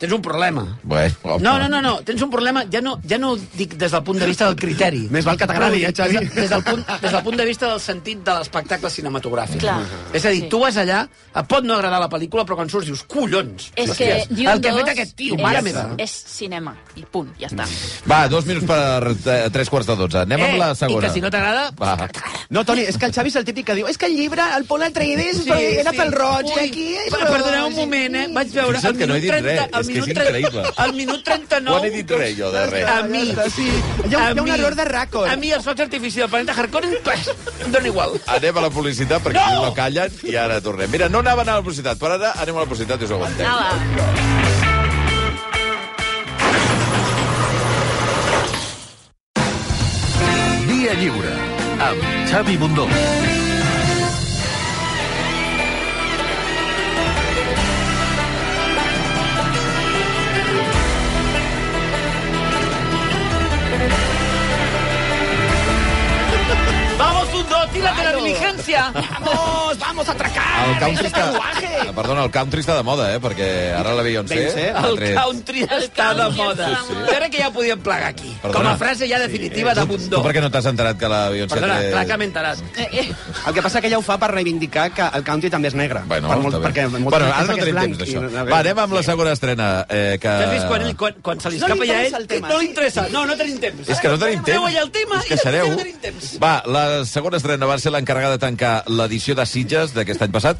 S5: tens un problema.
S3: Bueno,
S5: No, no, no, no, tens un problema, ja no, ja no ho dic des del punt de vista del criteri.
S6: Més val que t'agradi, eh, Xavi?
S5: Des, de- des, del punt, des del punt de vista del sentit de l'espectacle cinematogràfic.
S4: Clar.
S5: És a dir,
S4: Sí.
S5: tu vas allà, et pot no agradar la pel·lícula, però quan surts dius, collons!
S4: És que
S5: hòsties,
S4: Dune
S5: el que ha fet
S4: 2
S5: aquest tio,
S4: és-
S5: mare meva!
S4: És cinema, i punt, ja està.
S6: Mm.
S3: Va, dos minuts per eh, tres quarts de dotze. Anem
S5: Eh,
S3: amb la
S5: i
S3: segona.
S5: que si no t'agrada,
S3: Va.
S6: No, Toni, és que el Xavi és el típic que diu és que el llibre, el Pol Atreides, sí, era pel roig, i aquí... eh?" És
S5: Ui, perdoneu un moment, eh? Vaig veure...
S3: Fixa't
S5: al
S3: que no he
S5: minut
S3: dit res,
S5: al
S3: és que
S5: minut
S3: és
S5: 30
S3: increïble.
S5: (laughs) Al minut 39...
S3: No he dit res, jo, de res.
S5: A mi...
S6: Ja està, sí. Hi ha un-
S5: a
S6: hi ha un
S5: mi-
S6: error de racó.
S5: A mi els focs artificials del planeta Harkonnen... pas, em dona igual.
S3: Anem a la publicitat, perquè
S5: No!
S3: no! no callen, i ara tornem. Mira, no anaven a la publicitat, però ara anem a la publicitat i us ho aguantem.
S4: Nada.
S7: Via lliure, amb Xavi Bundó.
S5: Vamos, un dos, tírate la diligencia.
S6: Vamos, vamos a atracar!
S3: El country
S6: Este
S3: està...
S6: carruaje.
S3: Ah, Perdona, el country està de moda, eh? Perquè ara la Beyoncé...
S6: Beyoncé,
S3: l'ha
S5: El
S3: tret.
S5: country està de moda.
S4: Sí, sí.
S5: Jo crec que ja podíem plegar aquí.
S3: Perdona. eh,
S5: Com a frase ja definitiva de
S3: Tu
S5: Bundó.
S3: per què no t'has enterat que la Beyoncé...
S5: Perdona,
S3: té-
S5: clar que m'he enterat.
S4: Eh, eh.
S6: El que passa que ella ho fa per reivindicar que el country també és negre.
S3: Bueno,
S6: per
S3: molt,
S6: perquè
S3: perquè...
S6: molta
S3: bueno
S6: gent
S3: ara
S6: pensa
S3: no
S6: que és
S3: tenim temps
S6: blanc i
S3: d'això.
S6: no-
S3: Va, anem amb la segona estrena, eh, que...
S5: T'has vist quan, ell, quan, quan se li
S6: No
S5: escapa
S6: li
S5: ja a
S6: interessa el
S5: ell?
S6: tema.
S5: No li interessa. No, no tenim temps.
S3: És que no tenim temps.
S5: Aneu allà el tema
S3: Us
S5: i després
S3: queixareu.
S5: ja no tenim temps.
S3: Va, la segona estrena va ser l'encarregada de tancar l'edició de Sitges d'aquest any passat.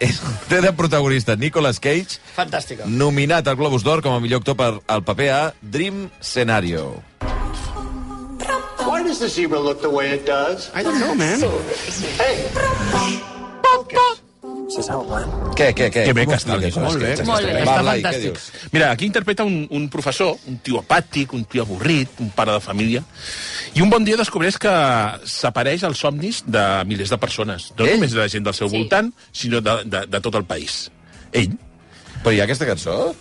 S3: És- Té de protagonista Nicolas Cage,
S5: Fantàstica.
S3: nominat al Globus d'Or com a millor actor per al paper a Dream Scenario.
S8: Why does the zebra look the way it does?
S6: I don't know, man.
S8: Hey,
S3: Què, què, què?
S1: Que bé
S3: Com
S1: que
S3: ho
S1: està el
S3: expliques,
S1: Nicolas
S3: Nicolas
S1: Cage,
S3: Cage,
S4: Molt
S3: aquesta
S4: bé.
S3: estrena?
S5: Està
S3: Va, Blai, què
S5: fantàstic.
S3: dius?
S1: Mira, aquí interpreta un, un professor, un tio apàtic, un tio avorrit, un pare de família, i un bon dia descobreix que s'apareix als somnis de milers de persones, no
S3: Ell?
S1: només de la gent del seu
S4: Sí.
S1: voltant, sinó de, de, de tot el país. Ell,
S3: Però hi ha aquesta cançó?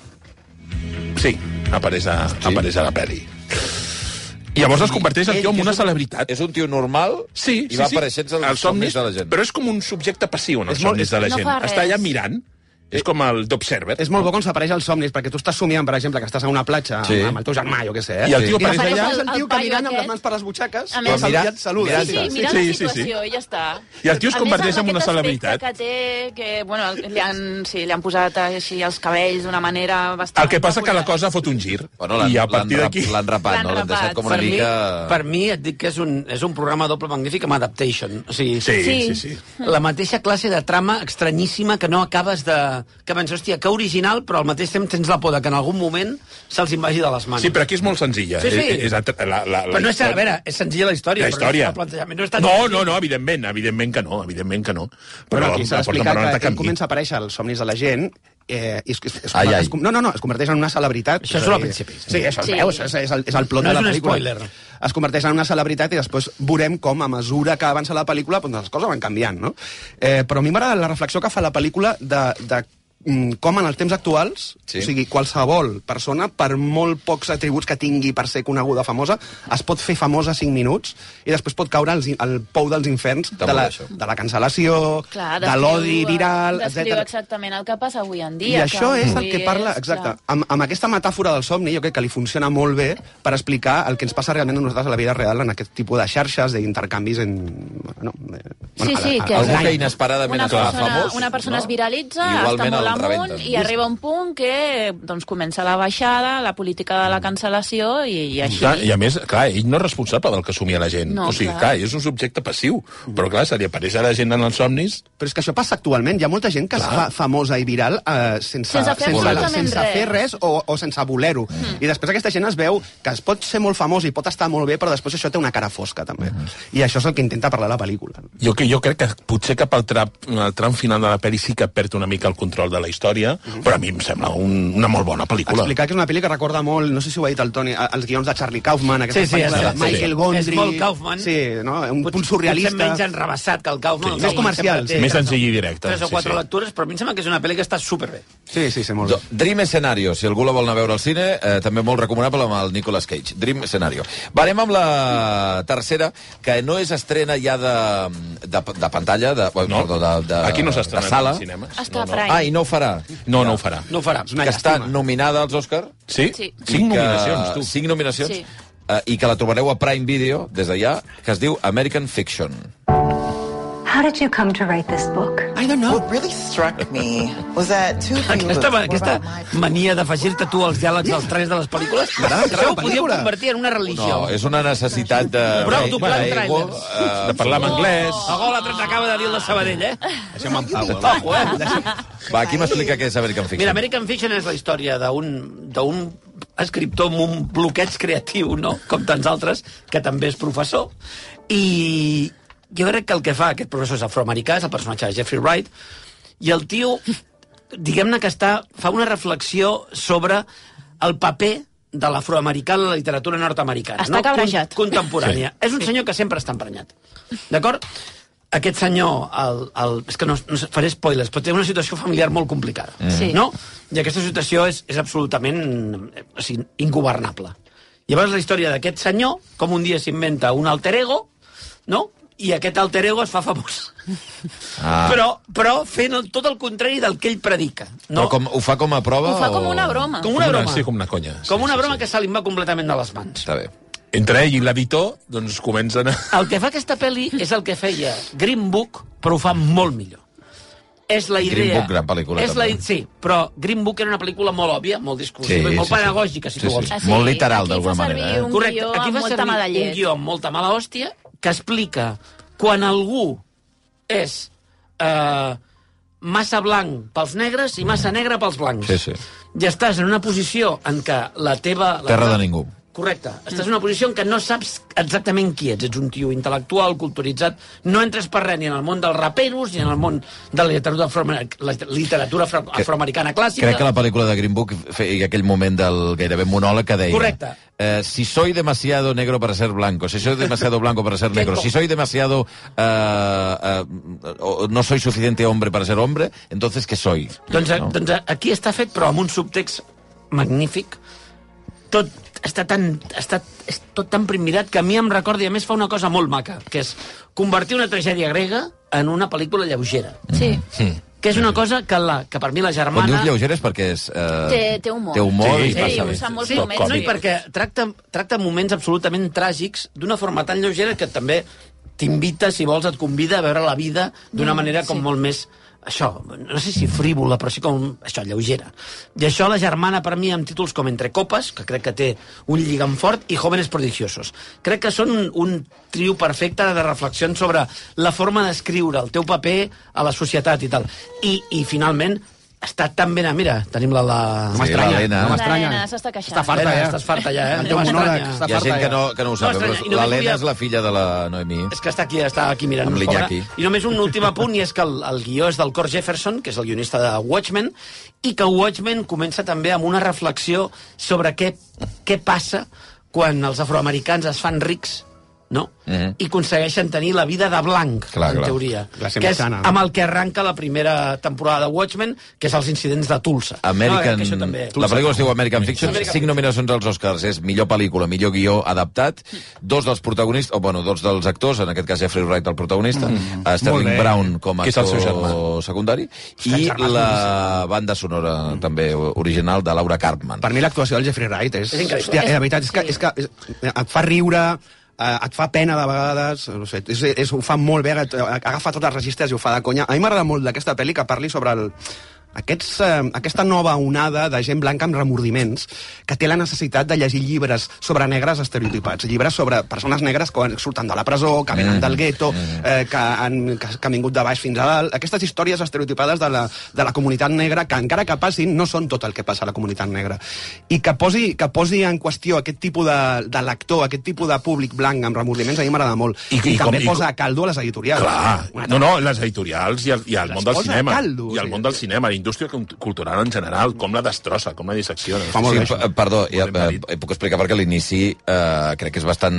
S1: sí, apareix a, apareix a la pel·li. Llavors es converteix el tio en una celebritat.
S3: És un tio normal
S1: Sí,
S3: i
S1: sí,
S3: va
S1: sí.
S3: apareixent als
S1: Els somnis,
S3: de la gent.
S1: Però és com un subjecte passiu en els
S6: És molt-
S1: somnis de la
S4: no
S1: gent.
S4: fa res.
S1: Està allà mirant. És com el d'Observer.
S6: És molt bo quan s'apareix als somnis, perquè tu estàs somiant, per exemple, que estàs a una platja
S3: Sí.
S6: sí. amb el teu germà, jo què sé. eh?
S1: I el tio apareix
S6: apareix
S1: allà-
S6: allà... El
S4: El
S6: tio
S4: paio
S6: caminant amb
S4: aquest.
S6: les mans per les butxaques,
S4: A
S6: a
S4: més-
S6: més,
S3: Mira-
S6: ja et saluda.
S3: mira-
S4: Sí,
S6: Sí,
S4: sí,
S3: Sí,
S4: mirant
S1: sí,
S4: sí,
S1: sí,
S4: la
S1: sí.
S4: situació i ja està.
S1: I el tio es
S4: A més,
S1: converteix en
S4: amb
S1: una
S4: aquest aspecte
S1: celebritat.
S4: Que té, que, bueno, el- li han, sí, li han posat així els cabells d'una manera bastant...
S1: El que passa que la cosa ha fot un gir.
S3: Bueno, l'han-
S1: I a
S3: l'han
S1: partir
S3: rap-
S1: d'aquí...
S3: L'han rapat,
S4: L'han
S3: no? L'han deixat
S4: rapat.
S3: com una
S5: per
S3: mica...
S5: Mi, per mi et dic que és un, és un programa doble magnífic amb adaptation. O sigui,
S1: Sí, sí, sí.
S4: Sí.
S1: sí.
S5: la mateixa classe de trama estranyíssima que no acabes de... Que penses, hòstia, que original, però al mateix temps tens la por de que en algun moment se'ls invagi de les mans.
S1: Sí, però aquí és molt senzilla. Eh,
S5: Sí, sí.
S1: És, és altra- la, la, la
S5: Però no és, a
S1: història-
S5: veure, és senzilla la història.
S1: la història.
S5: Però no, és el plantejament, no, és tan
S1: no,
S5: difícil.
S1: no, no, evidentment, evidentment que no, evidentment que no.
S6: Però aquí s'ha
S1: la porten per
S6: d'explicar
S1: un altre
S6: que ell
S1: camí.
S6: comença a aparèixer als somnis de la gent eh, i es, es, es,
S3: Ai, ai.
S6: es, com- no, no, no, es converteix en una celebritat.
S5: Això
S6: És
S5: surt
S6: a
S5: al
S6: dir-
S5: principi.
S6: Sí, això
S4: Sí.
S6: sí. veus, és, és, el, és el plot
S5: No
S6: de
S5: és
S6: la
S5: un
S6: pel·lícula.
S5: spoiler.
S6: Es converteix en una celebritat i després veurem com, a mesura que avança la pel·lícula, doncs les coses van canviant, no? Eh, però a mi m'agrada la reflexió que fa la pel·lícula de, de mm, com en els temps actuals,
S3: Sí.
S6: sí. o sigui, qualsevol persona, per molt pocs atributs que tingui per ser coneguda famosa, es pot fer famosa 5 minuts i després pot caure als in- al pou dels inferns
S3: Està
S6: de la,
S3: molt bé, això.
S6: de la cancel·lació,
S4: Clar,
S6: de l'odi
S4: descriu, eh,
S6: viral,
S4: Descriu
S6: etc.
S4: exactament el que passa avui en
S6: I
S4: dia.
S6: això és el
S4: avui
S6: que parla,
S4: és,
S6: exacte,
S4: clar.
S6: amb, amb aquesta metàfora del somni, jo crec que li funciona molt bé per explicar el que ens passa realment a nosaltres a la vida real en aquest tipus de xarxes, d'intercanvis en... Bueno, eh,
S4: Sí,
S6: a la-
S4: sí,
S6: a-
S4: que-
S6: al-
S3: Algú que
S4: Online.
S3: inesperadament
S4: una
S3: es fa
S4: persona,
S3: famós.
S4: una persona
S3: no?
S4: es viralitza,
S3: I
S4: està
S3: igualment
S4: molt
S3: el
S4: amunt
S3: rebenten.
S4: i arriba un punt que doncs, comença la baixada, la política de la cancel·lació i, i així.
S1: Clar, I a més, clar, ell no és responsable del que assumia la gent.
S4: No,
S1: o sigui, clar.
S4: clar.
S1: és un subjecte passiu. Però clar, se li apareix a la gent en els somnis...
S6: Però és que això passa actualment. Hi ha molta gent que es fa famosa i viral eh, sense,
S4: Sense fer
S6: sense,
S4: absolutament
S6: sense
S4: res. Mm.
S6: fer res o, o sense voler-ho. I després aquesta gent es veu que es pot ser molt famós i pot estar molt bé, però després això té una cara fosca, també. I això és el que intenta parlar la pel·lícula.
S1: Jo, que- jo crec que potser cap al trap, al tram final de la peli sí que perd una mica el control de la història, però a mi em sembla un, una molt bona pel·lícula.
S6: Explicar que és una pel·li que recorda molt, no sé si ho ha dit el Toni, a- els guions de Charlie Kaufman,
S5: Sí,
S6: aquestes
S5: sí, és,
S6: pel·lícules de
S5: sí.
S6: Michael Gondry...
S5: És molt Kaufman.
S6: Sí, no? Un
S5: Pot-
S6: punt surrealista.
S5: Potser menys enrevessat que el Kaufman.
S6: Sí.
S5: El
S6: Més
S5: Kaufman
S6: comercial,
S5: sempre
S6: sí.
S5: té
S1: Més senzill i directe,
S5: Tres o
S1: sí,
S5: quatre
S1: sí.
S5: lectures, però a mi em sembla que és una pel·li que està superbé.
S6: Sí, sí, sí, molt
S3: Do-
S6: bé.
S3: Dream Scenario, si algú la vol anar a veure al cine, eh, també molt recomanable amb el Nicolas Cage. Dream Scenario. Va, anem amb la tercera, que no és estrena ja de, de, de pantalla, de,
S1: No,
S3: perdó, de, de,
S1: aquí no s'ha
S3: de
S1: estrenat
S3: sala.
S1: als cinemes. no,
S4: Està
S1: no.
S4: a Prime.
S3: Ah, i no ho farà.
S1: No, no ho farà.
S5: No ho farà.
S6: És una
S3: que està
S6: llàstima.
S3: nominada als Òscar.
S1: Sí?
S4: Sí.
S1: Cinc nominacions, tu.
S3: Cinc nominacions.
S4: Sí.
S3: Eh, I que la trobareu a Prime Video, des d'allà, que es diu American Fiction.
S9: How did you come to write this book?
S6: I don't know.
S10: really struck me was that
S5: (laughs)
S10: two
S5: (laughs)
S10: things.
S5: Aquesta,
S10: were
S5: aquesta
S10: about my-
S5: mania de afegir-te tu als diàlegs dels trens de les pel·lícules,
S6: M'agrada que
S5: això ho
S6: la
S5: podíem
S6: pel·lícula.
S5: convertir en una religió.
S3: No, és una necessitat de...
S5: Prou
S3: de-
S5: doblant
S3: de-
S5: trailers.
S3: eh,
S1: De parlar en
S5: Oh!
S1: anglès...
S5: A gol, l'altre t'acaba de dir el de Sabadell, eh?
S6: Deixem en pau. va.
S5: Ojo, eh?
S3: Va, qui m'explica què és American Fiction?
S5: Mira, American Fiction és la història d'un d'un escriptor amb un bloqueig creatiu, no? com tants altres, que també és professor. I jo crec que el que fa aquest professor és afroamericà, és el personatge de Jeffrey Wright, i el tio, diguem-ne que està, fa una reflexió sobre el paper de l'afroamericà en la literatura nord-americana.
S4: Està cabrejat.
S5: Con- Contemporània. Sí. És un senyor que sempre està emprenyat. D'acord? Aquest senyor, el, el, és que no, no faré spoilers, però té una situació familiar molt complicada.
S4: Sí.
S5: No? I aquesta situació és, és absolutament eh, o sigui, ingovernable. Llavors, la història d'aquest senyor, com un dia s'inventa un alter ego, no? i aquest alter ego es fa famós. Ah. Però, però fent el, tot el contrari del que ell predica. No?
S3: Però com, ho fa com a prova?
S4: Ho fa com
S3: o...
S4: una broma.
S5: com una broma.
S1: Sí, com una conya. Sí,
S5: com una
S1: sí,
S5: broma
S1: sí.
S5: que se li va completament de les mans.
S3: Està bé.
S1: Entre ell i l'editor, doncs, comencen a...
S5: El que fa aquesta pel·li és el que feia Green Book, però ho fa molt millor. És la idea...
S3: Green Book, gran pel·lícula,
S5: És la,
S3: també.
S5: sí, però Green Book era una pel·lícula molt òbvia, molt discursiva
S3: Sí,
S5: i molt
S3: sí, sí.
S5: pedagògica, si
S3: Sí,
S5: tu vols.
S3: sí. Molt literal,
S4: aquí
S3: d'alguna
S4: fa servir
S3: manera, eh?
S4: Un
S5: Correcte,
S4: guió
S5: aquí
S4: amb
S5: fa
S4: molta
S5: servir
S4: mala
S5: un
S4: llet.
S5: guió amb molta mala hòstia que explica quan algú és eh, massa blanc pels negres i massa negre pels blancs.
S3: Sí, sí.
S5: I estàs en una posició en què la teva... La
S3: Terra
S5: teva-
S3: de ningú.
S5: Correcte. Estàs en una posició en què no saps exactament qui ets. Ets un tio intel·lectual, culturitzat. No entres per res ni en el món dels raperos ni en el món de la literatura, afroamer- la literatura afro afroamericana clàssica.
S3: Crec que la pel·lícula de Green Book feia aquell moment del gairebé monòleg que deia...
S5: Correcte.
S3: Eh, si soy demasiado negro para ser blanco, si soy demasiado blanco para ser negro, si soy demasiado... Eh, eh, o no soy suficiente hombre para ser hombre, entonces ¿qué soy?
S5: Doncs,
S3: no?
S5: doncs aquí està fet, però amb un subtext magnífic. Tot està tan, està, és tot tan primmirat que a mi em recorda, i a més fa una cosa molt maca, que és convertir una tragèdia grega en una pel·lícula lleugera.
S4: Sí.
S3: Mm.
S5: Que és una cosa que, la, que per mi la germana...
S3: Quan dius lleugeres perquè és... Eh,
S5: Té- té humor.
S3: Té humor i
S5: Sí,
S3: passa
S5: sí,
S3: bé.
S4: usa molts
S5: Sí,
S4: moments.
S5: no, i perquè tracta, tracta moments absolutament tràgics d'una forma tan lleugera que també t'invita, si vols, et convida a veure la vida d'una
S11: Mm,
S5: manera com
S11: sí.
S5: molt més això, no sé si frívola, però sí com això, lleugera. I això la germana per mi amb títols com Entre Copes, que crec que té un lligam fort, i Jóvenes Prodigiosos. Crec que són un, un trio perfecte de reflexions sobre la forma d'escriure, el teu paper a la societat i tal. I, i finalment, està tan ben... a- Mira, tenim la... la...
S3: Sí, m'estranya, l'Helena. no m'estranya.
S4: L'Helena s'està queixant.
S5: Està farta,
S4: Elena,
S5: ja. Estàs farta, ja, eh?
S4: El teu monòleg,
S5: m'estranya.
S3: Hi ha
S6: eh?
S3: gent que no, que no ho sap, però
S5: m'estranya, i només
S3: l'Helena
S5: volia-
S3: és la filla de la Noemí.
S5: És que està aquí, està aquí mirant.
S3: Amb
S5: nos,
S3: l'Iñaki.
S5: pobra. I només un últim apunt, i és que el, el guió és del Cor Jefferson, que és el guionista de Watchmen, i que Watchmen comença també amb una reflexió sobre què, què passa quan els afroamericans es fan rics no?
S3: Mhm.
S5: i aconsegueixen tenir la vida de blanc,
S3: Clar,
S5: en
S3: clar.
S5: teoria.
S3: Classe
S5: que és
S3: mitjana.
S5: amb el que arranca la primera temporada de Watchmen, que és els incidents de Tulsa. No, eh,
S3: American...
S5: que això
S3: No,
S5: també...
S3: la pel·lícula es diu American Fiction,
S5: American
S3: cinc nominacions als Oscars, és millor pel·lícula, millor guió adaptat, dos dels protagonistes, o bueno, dos dels actors, en aquest cas Jeffrey Wright, el protagonista,
S1: Mm.
S3: a Sterling
S1: Molt bé.
S3: Brown com a
S1: Que és el seu
S3: actor secundari, i
S6: germà és
S3: la banda sonora també original de Laura Cartman. Per
S6: mi l'actuació del Jeffrey Wright és...
S3: És increïble.
S6: Hòstia, eh, la veritat és que, és que és, et fa riure, eh, et fa pena de vegades, no sé, és, és, ho fa molt bé, et- eh, agafa tots els registres i ho fa de conya. A mi m'agrada molt d'aquesta pel·li que parli sobre el, aquests, eh, aquesta nova onada de gent blanca amb remordiments que té la necessitat de llegir llibres sobre negres estereotipats, llibres sobre persones negres que surten de la presó, que venen
S3: Mm.
S6: del gueto, eh, que, han, que, que han vingut de baix fins a dalt. Aquestes històries estereotipades de la, de la comunitat negra, que encara que passin, no són tot el que passa a la comunitat negra. I que posi, que posi en qüestió aquest tipus de, de lector, aquest tipus de públic blanc amb remordiments, a mi m'agrada molt. I,
S1: I-
S6: I,
S1: i
S6: també
S1: com- i-
S6: posa a caldo a les editorials.
S1: Clar, no, no, les editorials i el, i el món del
S6: posa a
S1: cinema.
S6: caldo,
S1: I el món del cinema, la indústria cult- cultural en general, com la destrossa, com la dissecciona.
S3: sí, p- perdó, ja, eh, puc explicar perquè l'inici eh, crec que és bastant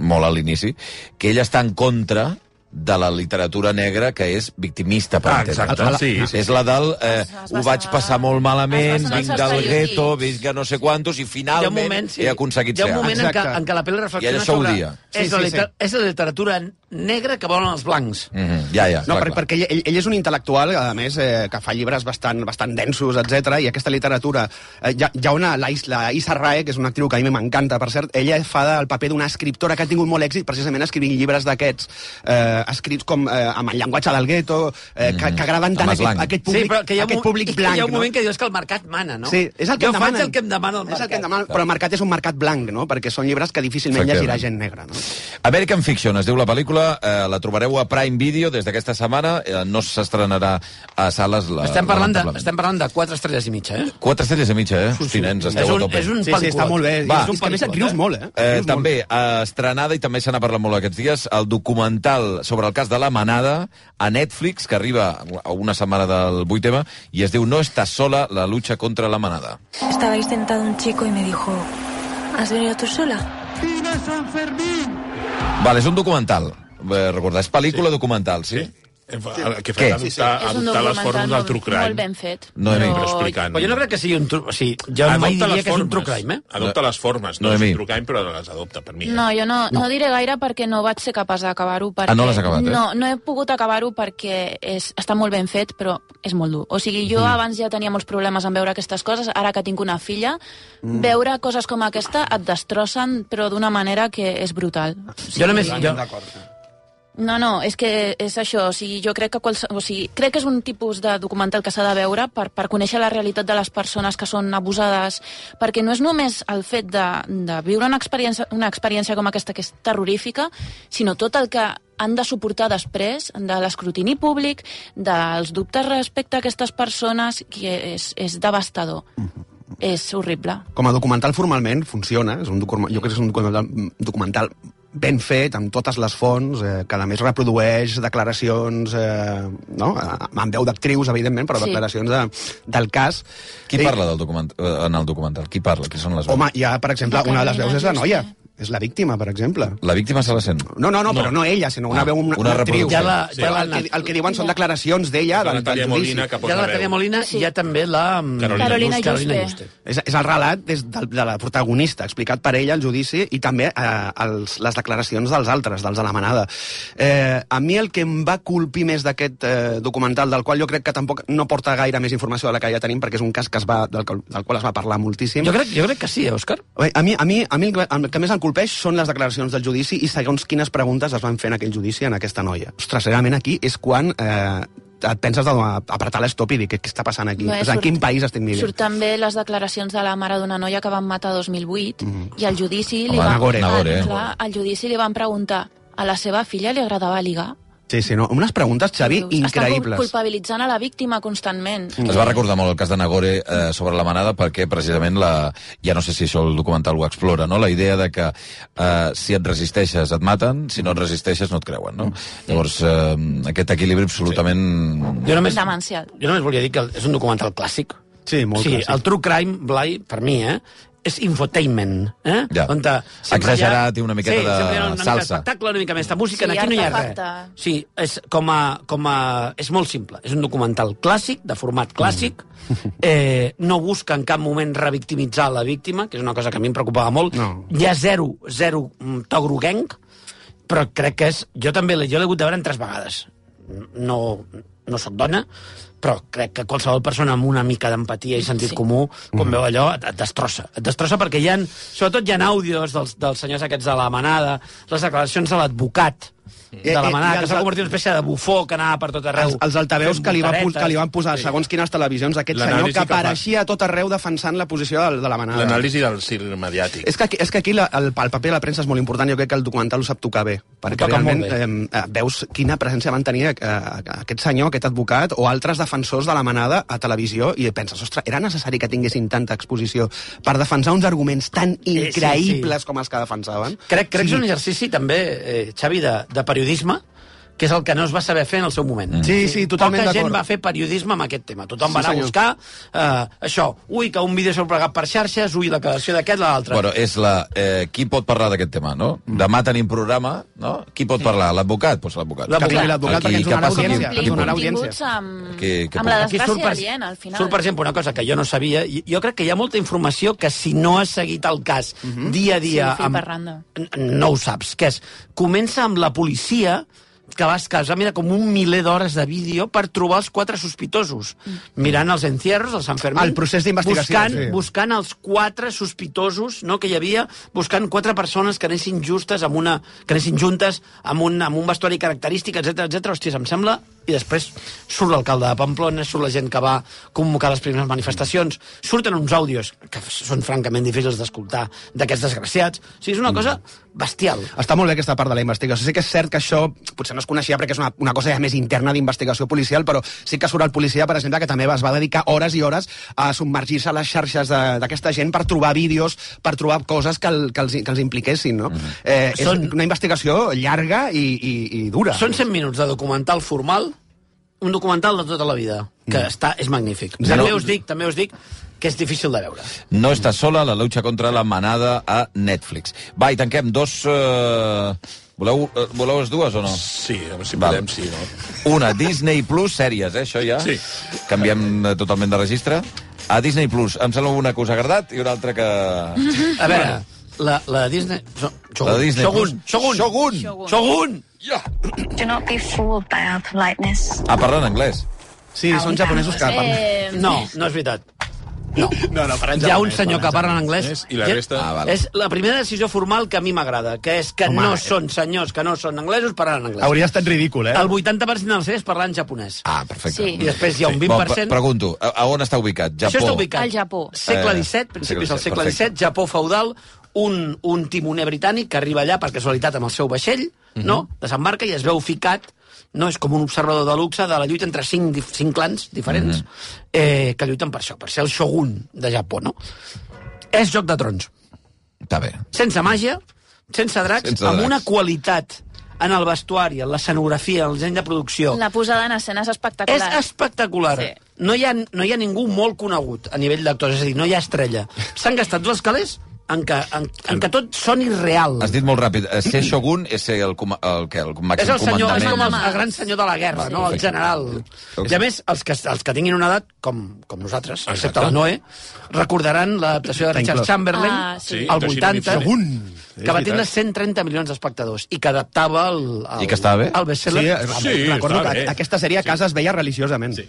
S3: molt a l'inici, que ell està en contra de la literatura negra que és victimista, per
S1: Ah,
S3: entendre.
S1: exacte,
S3: La-
S1: sí, sí.
S3: És la del eh, ho vaig passar molt malament,
S5: es va
S3: vinc
S5: basar
S3: del
S5: en estereotips.
S3: gueto, vinc de no sé quantos, i
S5: Hi ha
S3: finalment
S5: un moment, sí.
S3: he aconseguit
S5: Hi ha
S3: ser.
S5: un moment en què,
S3: Exacte.
S5: en què la pel·li
S3: I
S5: reflexiona
S3: això ho
S5: sobre...
S3: dia.
S5: És,
S6: Sí,
S5: la
S6: sí,
S5: litera- és la literatura negra que volen els blancs.
S3: Mhm, ja, ja,
S6: No,
S3: clar,
S6: per,
S3: clar.
S6: perquè ell, ell, ell és un intel·lectual, a més, eh, que fa llibres bastant, bastant densos, etc. i aquesta literatura... Eh, hi, ha, hi ha una, la, Is- la Issa Rae, que és una actriu que a mi m'encanta, per cert, ella fa el paper d'una escriptora que ha tingut molt èxit precisament escrivint llibres d'aquests, eh, escrits com eh, amb el llenguatge del gueto, eh, que, que agraden tant a aquest, a aquest públic,
S5: sí, però que hi ha
S6: aquest
S5: un,
S6: públic
S5: i
S6: blanc.
S5: Que hi ha un
S6: no?
S5: moment que dius que el mercat mana, no?
S6: Sí, és el que
S5: jo
S6: em demanen.
S5: faig el que em demana el mercat. És el que em
S6: Però el mercat és un mercat blanc, no? Perquè són llibres que difícilment
S3: Efectivament.
S6: llegirà gent negra. No?
S3: American Fiction es diu la pel·lícula, eh, la trobareu a Prime Video des d'aquesta setmana, eh, no s'estrenarà a sales la,
S5: Estem parlant, de,
S3: lamentablement. Mm.
S5: estem parlant de quatre estrelles i mitja, eh?
S3: Quatre estrelles i mitja, eh? Hosti, nens, esteu
S5: És un-
S3: a tope.
S5: és un Sí, sí, pel·lícula. està molt bé.
S3: Va.
S5: És un És que a més et rius pel·lícula, eh? molt, eh? Et
S3: eh
S5: rius
S3: també, eh, estrenada, i també se n'ha parlat molt aquests dies, el documental sobre el cas de la manada a Netflix, que arriba a una setmana del 8M, i es diu No estàs sola, la lucha contra la manada.
S12: Estaba ahí sentado un chico y me dijo, ¿has venido tú sola? ¡Viva San Fermín!
S3: Vale, és un documental, eh, recordar. És pel·lícula sí. documental, sí? sí.
S1: Que Eh, fa
S3: Què?
S1: adoptar,
S4: És un
S1: adoptar les
S4: documental
S1: formes del
S4: molt-
S1: true crime.
S4: Molt ben fet.
S3: Noemí.
S1: Però explicant-
S5: Però jo no crec que sigui un... Tru... O sigui, jo Ah, mai
S1: Adopta
S5: diria
S1: les
S5: que és un true
S1: formes.
S5: crime, eh?
S1: Adopta les formes, no,
S3: No,
S1: és
S3: Emi.
S1: un true crime, però les adopta, per mi. eh?
S4: No, jo no, no. no diré gaire perquè no vaig ser capaç d'acabar-ho. perquè-
S1: Ah, no l'has acabat, eh?
S4: No, no he pogut acabar-ho perquè és, està molt ben fet, però és molt dur. O sigui, jo
S1: Mm.
S13: Mhm.
S4: abans ja tenia molts problemes en veure aquestes coses, ara que tinc una filla,
S1: Mm.
S4: veure coses com aquesta et destrossen, però d'una manera que és brutal.
S5: Jo només... Jo...
S4: No, no, és que és això. O sigui, jo crec que, qualse... o sigui, crec que és un tipus de documental que s'ha de veure per, per conèixer la realitat de les persones que són abusades, perquè no és només el fet de, de viure una experiència, una experiència com aquesta que és terrorífica, sinó tot el que han de suportar després de l'escrutini públic, dels dubtes respecte a aquestes persones, que és, és devastador. És horrible.
S6: com a documental formalment funciona, és un documental, jo crec que és un documental, mm, documental ben fet, amb totes les fonts, eh, que a més reprodueix declaracions, eh, no? Eh, amb veu d'actrius, evidentment, però
S3: Sí.
S6: declaracions de, del cas. Eh,
S3: Qui parla del document, eh, en el documental? Qui parla? Qui són les veus?
S6: Home, hi ha, per exemple,
S3: La
S6: una de les
S3: Carolina
S6: veus és la
S3: Juste.
S6: noia. És la víctima, per exemple.
S3: La víctima se la sent.
S6: No, no, no, però no ella, sinó una
S3: Ah,
S6: veu, una,
S3: una
S6: actriu.
S3: reproducció. Ja la-
S6: Sí.
S3: ja la-
S6: el, que, el que diuen són declaracions d'ella, del, del
S1: Natalia
S6: judici.
S1: Molina, que posa
S5: Hi ha la Tania Molina sí. i hi ha també la... mm,
S6: Carolina Carolina Juste.
S5: Carolina Juste.
S6: És, és el relat des de, de la protagonista, explicat per ella, el judici, i també eh, els, les declaracions dels altres, dels de la manada. Eh, a mi el que em va colpir més d'aquest eh, documental, del qual jo crec que tampoc no porta gaire més informació de la que ja tenim, perquè és un cas que es va, del, qual- del qual es va parlar moltíssim.
S5: Jo crec, jo crec que sí, eh, Òscar?
S6: Bé, A mi, a mi, a mi el, que, el que més em colpeix són les declaracions del judici i segons quines preguntes es van fer en aquell judici en aquesta noia. Ostres, realment aquí és quan eh, et penses d'apretar l'estop i dir què, què està passant aquí.
S4: Bé,
S6: o sigui,
S4: surt-
S6: en quin país estem vivint?
S4: Surt també les declaracions de la mare d'una noia que van matar 2008
S6: Mhm.
S4: i al judici li,
S6: Home,
S4: van,
S6: Nagore, Nagore, eh?
S4: al, clar, al judici li van preguntar a la seva filla li agradava ligar?
S6: Sí, sí, no? unes preguntes, Xavi,
S4: Estan
S3: increïbles.
S4: culpabilitzant a la víctima constantment.
S3: Es va recordar molt el cas de Nagore eh, sobre la manada perquè precisament la... ja no sé si això el documental ho explora, no? la idea de que eh, si et resisteixes et maten, si no et resisteixes no et creuen. No? Llavors, eh, aquest equilibri absolutament...
S5: Jo només,
S4: Demencial.
S5: jo només volia dir que és un documental clàssic.
S6: Sí, molt
S5: sí,
S6: clàssic.
S5: El true crime, Blai, per mi, eh, és infotainment. Eh?
S3: Ja.
S5: On te- sempre
S3: Exagerat i una miqueta
S5: sí,
S3: de
S5: sempre hi ha una Mica
S3: salsa.
S5: d'espectacle, una mica més de música,
S4: Sí,
S5: sí, aquí no hi ha res.
S4: artefacte.
S5: Sí, és, com a, com a, és molt simple. És un documental clàssic, de format clàssic.
S3: Mm.
S5: Eh, no busca en cap moment revictimitzar la víctima, que és una cosa que a mi em preocupava molt.
S6: No.
S5: Hi ha zero, zero mm, to groguenc, però crec que és... Jo també l'he jo l'he hagut de veure en tres vegades. No, no sóc dona, però crec que qualsevol persona amb una mica d'empatia i sentit sí. comú,
S6: Mhm.
S5: quan veu allò, et, et destrossa. Et destrossa perquè hi ha, sobretot hi ha àudios dels, dels senyors aquests de la manada, les declaracions de l'advocat de
S6: Eh,
S5: la
S6: eh, i
S5: manada, que
S6: els
S5: s'ha
S6: al-
S5: convertit en una espècie de bufó que anava per tot arreu.
S6: Els, els altaveus
S5: fent
S6: que li, va, pos-
S5: voltaretes.
S6: que li van posar, segons quines televisions, aquest senyor
S1: L'anàlisi
S6: que
S1: que fa.
S6: apareixia a tot arreu defensant la posició de, de la manada.
S1: L'anàlisi del circ mediàtic.
S6: És que, aquí- és que aquí la, el, el paper de la premsa és molt important, jo crec que el documental ho sap tocar bé, perquè
S1: toca
S6: realment
S1: molt bé.
S6: eh, eh, veus quina presència van tenir eh, aquest senyor, aquest advocat o altres defensors de la manada a televisió i penses, ostres, era necessari que tinguessin tanta exposició per defensar uns arguments tan
S5: sí.
S6: increïbles com els que defensaven?
S5: Crec, crec sí. que és
S6: Sí.
S5: un exercici també, eh, Xavi, de, de periodisme, que és el que no es va saber fer en el seu moment.
S6: Sí, sí, totalment
S5: Poca gent
S6: d'acord.
S5: va fer periodisme amb aquest tema. Tothom
S6: Sí,
S5: va anar
S6: senyor.
S5: a buscar eh, això. Ui, que un vídeo s'ha plegat per xarxes, ui, la declaració d'aquest, la d'altre.
S3: Bueno, és la... Eh, qui pot parlar d'aquest tema, no? Demà tenim programa, no? Qui pot parlar? L'advocat? Doncs l'advocat.
S5: L'advocat. Que vingui l'advocat perquè ens donarà audiència.
S3: Qui,
S5: Ens donarà
S3: qui,
S5: audiència.
S4: Tinguts amb,
S3: Que- que
S4: amb la
S3: poc.
S5: Aquí
S4: desgràcia
S5: surt per-
S4: aliena, al final.
S5: Surt, per exemple, una cosa que jo no sabia. i Jo crec que hi ha molta informació que si no has seguit el cas dia a dia...
S4: Sí, fil per randa.
S5: no ho saps, que és... Comença amb la policia que vas casar, mira, com un miler d'hores de vídeo per trobar els quatre sospitosos. Mirant els encierros, els Sant Fermín...
S6: El Mm. procés d'investigació,
S5: Buscant,
S6: sí.
S5: buscant els quatre sospitosos no, que hi havia, buscant quatre persones que anessin justes amb una, que anessin juntes amb un, amb un vestuari característic, etc etc. Hòsties, em sembla... I després surt l'alcalde de Pamplona, surt la gent que va convocar les primeres manifestacions, surten uns àudios que f- són francament difícils d'escoltar d'aquests desgraciats. O sigui, és una cosa bestial.
S6: Està molt bé aquesta part de la investigació. Sí que és cert que això potser no es coneixia perquè és una, una cosa ja més interna d'investigació policial, però sí que surt el policia, per exemple, que també es va dedicar hores i hores a submergir-se a les xarxes de- d'aquesta gent per trobar vídeos, per trobar coses que, el, que, els, que els impliquessin, no? Eh, és
S5: Són-
S6: una investigació llarga i, i, i dura.
S5: Són 100 minuts de documental formal, un documental de tota la vida, que està, és magnífic.
S3: Zero-
S5: També us dic, també us dic que és difícil de veure.
S3: No està sola la lucha contra la manada a Netflix. Va, i tanquem dos... Eh... Voleu, eh, voleu les dues o no?
S1: Sí, si
S3: Val.
S1: podem, sí, no?
S3: Una, Disney Plus, sèries, eh, això ja.
S1: Sí.
S3: Canviem eh, totalment de registre. A Disney Plus, em sembla una que us ha agradat i una altra que...
S5: A veure, la, la Disney... so- Shogun.
S3: La Disney
S5: Shogun.
S3: Plus.
S5: Shogun.
S3: Shogun.
S5: Shogun.
S12: Do not be fooled by our politeness.
S3: Ah, parla en anglès.
S6: Sí, són japonesos que parlen.
S5: No, no és veritat.
S6: No, no,
S5: Hi ha un senyor que parla en anglès.
S1: I la resta...
S3: Ah, val.
S5: És la primera decisió formal que a mi m'agrada, que és que
S6: Home,
S5: no
S6: eh.
S5: són senyors, que no són anglesos, parlen en anglès.
S6: Hauria estat ridícul, eh?
S5: El 80% de les sèries parlen japonès.
S3: Ah, perfecte.
S4: Sí.
S5: I després hi ha un 20%...
S3: Bon, pregunto, a, a on està ubicat? Japó.
S5: Això està ubicat.
S4: Al Japó.
S5: Segle
S3: Eh,
S5: XVII, principis del
S3: segle
S5: segle
S3: XVII,
S5: XVII, Japó feudal, un, un timoner britànic que arriba allà per casualitat amb el seu vaixell,
S3: Mhm.
S5: no? desembarca i es veu ficat no és com un observador de luxe de la lluita entre cinc, dif- cinc clans diferents
S3: Mhm.
S5: eh, que lluiten per això, per ser el shogun de Japó, no? És Joc de Trons.
S3: Està bé.
S5: Sense màgia, sense dracs,
S3: Sense
S5: amb
S3: dracs.
S5: una qualitat en el vestuari, en l'escenografia, en el disseny de producció,
S4: La posada en escena és espectacular.
S5: és espectacular.
S4: Sí.
S5: Sí. No, hi ha, no hi ha ningú molt conegut a nivell d'actors, és a dir, no hi ha estrella. S'han gastat dos calés en què, en, en què tot soni real.
S3: Has dit molt ràpid. eh, Ser Shogun és ser el, coma- el, què, el màxim
S5: És el senyor, és
S3: comandament.
S5: com el, el gran senyor de la guerra,
S3: Va,
S5: no? El
S3: perfecte.
S5: general. I a més, els que, els que tinguin una edat, com, com nosaltres, excepte la Noé, recordaran l'adaptació de
S2: Time
S5: Richard
S2: Club.
S5: Chamberlain
S2: Ah, sí.
S1: doncs
S5: al
S2: Sí, Toshiro
S5: 80,
S2: Mifune.
S5: que va
S2: És
S5: tindre
S2: veritat.
S5: 130 milions d'espectadors i que adaptava el, el,
S3: I que estava bé? eh,
S5: el best-seller.
S6: Sí, recordo que aquesta sèrie a casa es veia religiosament. Sí.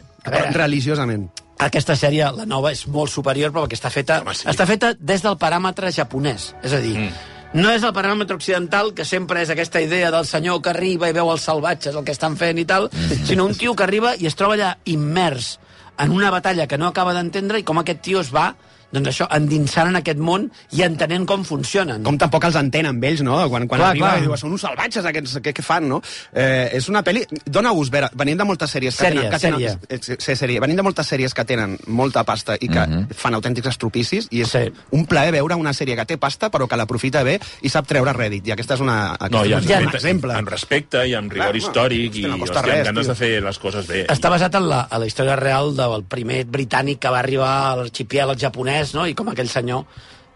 S6: Religiosament.
S5: Aquesta sèrie, la nova, és molt superior, però perquè està feta, Home, sí. està feta des del paràmetre japonès. És a dir, mm. no és el paràmetre occidental, que sempre és aquesta idea del senyor que arriba i veu els salvatges, el que estan fent i tal, sinó un tio que arriba i es troba allà immers en una batalla que no acaba d'entendre i com aquest tio es va doncs això, endinsant en aquest món i entenent com funcionen.
S6: Com tampoc els entenen ells, no? Quan, quan
S5: Clar,
S6: clar, arriba
S5: clar.
S6: clar. i diu, són uns salvatges aquests, què, què fan, no? Eh, és una pel·li... Dóna gust, veure, venim de moltes sèries...
S5: Sèrie,
S6: que tenen,
S5: sèrie. Mhm.
S6: que tenen, sí, sèrie. Venim de moltes sèries que tenen molta pasta i que fan autèntics estropicis, i és un plaer veure una sèrie que té pasta però que l'aprofita bé i sap treure rèdit. I aquesta és una... Aquesta
S1: No, i
S6: és
S1: amb,
S6: un
S1: respecte,
S6: exemple.
S1: amb respecte i amb rigor
S6: Clar, home,
S1: històric
S6: hòstia,
S1: i
S6: no
S1: hòstia,
S6: costa
S1: amb
S6: res,
S1: ganes
S6: tio.
S1: de fer les coses bé.
S5: Està basat en la, en la història real del primer britànic que va arribar a l'arxipèlag japonès, no? I com aquell senyor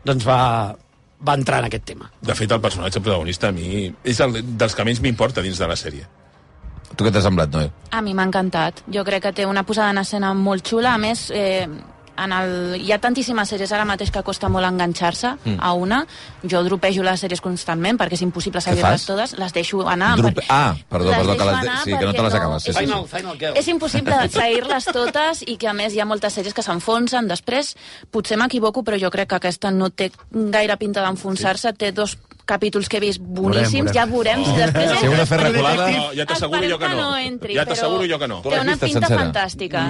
S5: doncs va, va entrar en aquest tema.
S1: De fet, el personatge protagonista a mi és el dels que menys m'importa dins de la sèrie.
S3: Tu què t'ha semblat, Noé?
S4: A mi m'ha encantat. Jo crec que té una posada en escena molt xula. A més, eh, en el... hi ha tantíssimes sèries ara mateix que costa molt enganxar-se
S3: Mm.
S4: mm. a una. Jo dropejo les sèries constantment perquè és impossible
S3: fas?
S4: saber-les totes. Les deixo anar.
S3: Drup...
S4: per-
S3: Ah, perdó,
S4: les
S3: perdó, que
S4: deixo
S3: les...
S4: anar
S3: sí, que no te
S4: perquè
S3: les acabes. Sí, sí, sí.
S4: És impossible seguir-les totes i que, a més, hi ha moltes sèries que s'enfonsen després. Potser m'equivoco, però jo crec que aquesta no té gaire pinta d'enfonsar-se. Té dos capítols que he vist boníssims.
S3: Veurem,
S4: Ja veurem si
S1: Oh.
S4: després...
S1: Si heu de fer
S4: entres.
S1: reculada, no, ja t'asseguro
S4: Esperem
S1: jo que no.
S4: entri,
S1: Ja
S4: però
S1: t'asseguro jo que no. Tu
S4: Té
S1: l'has
S4: una
S1: vista
S4: pinta
S1: sencera? Mm.
S4: fantàstica.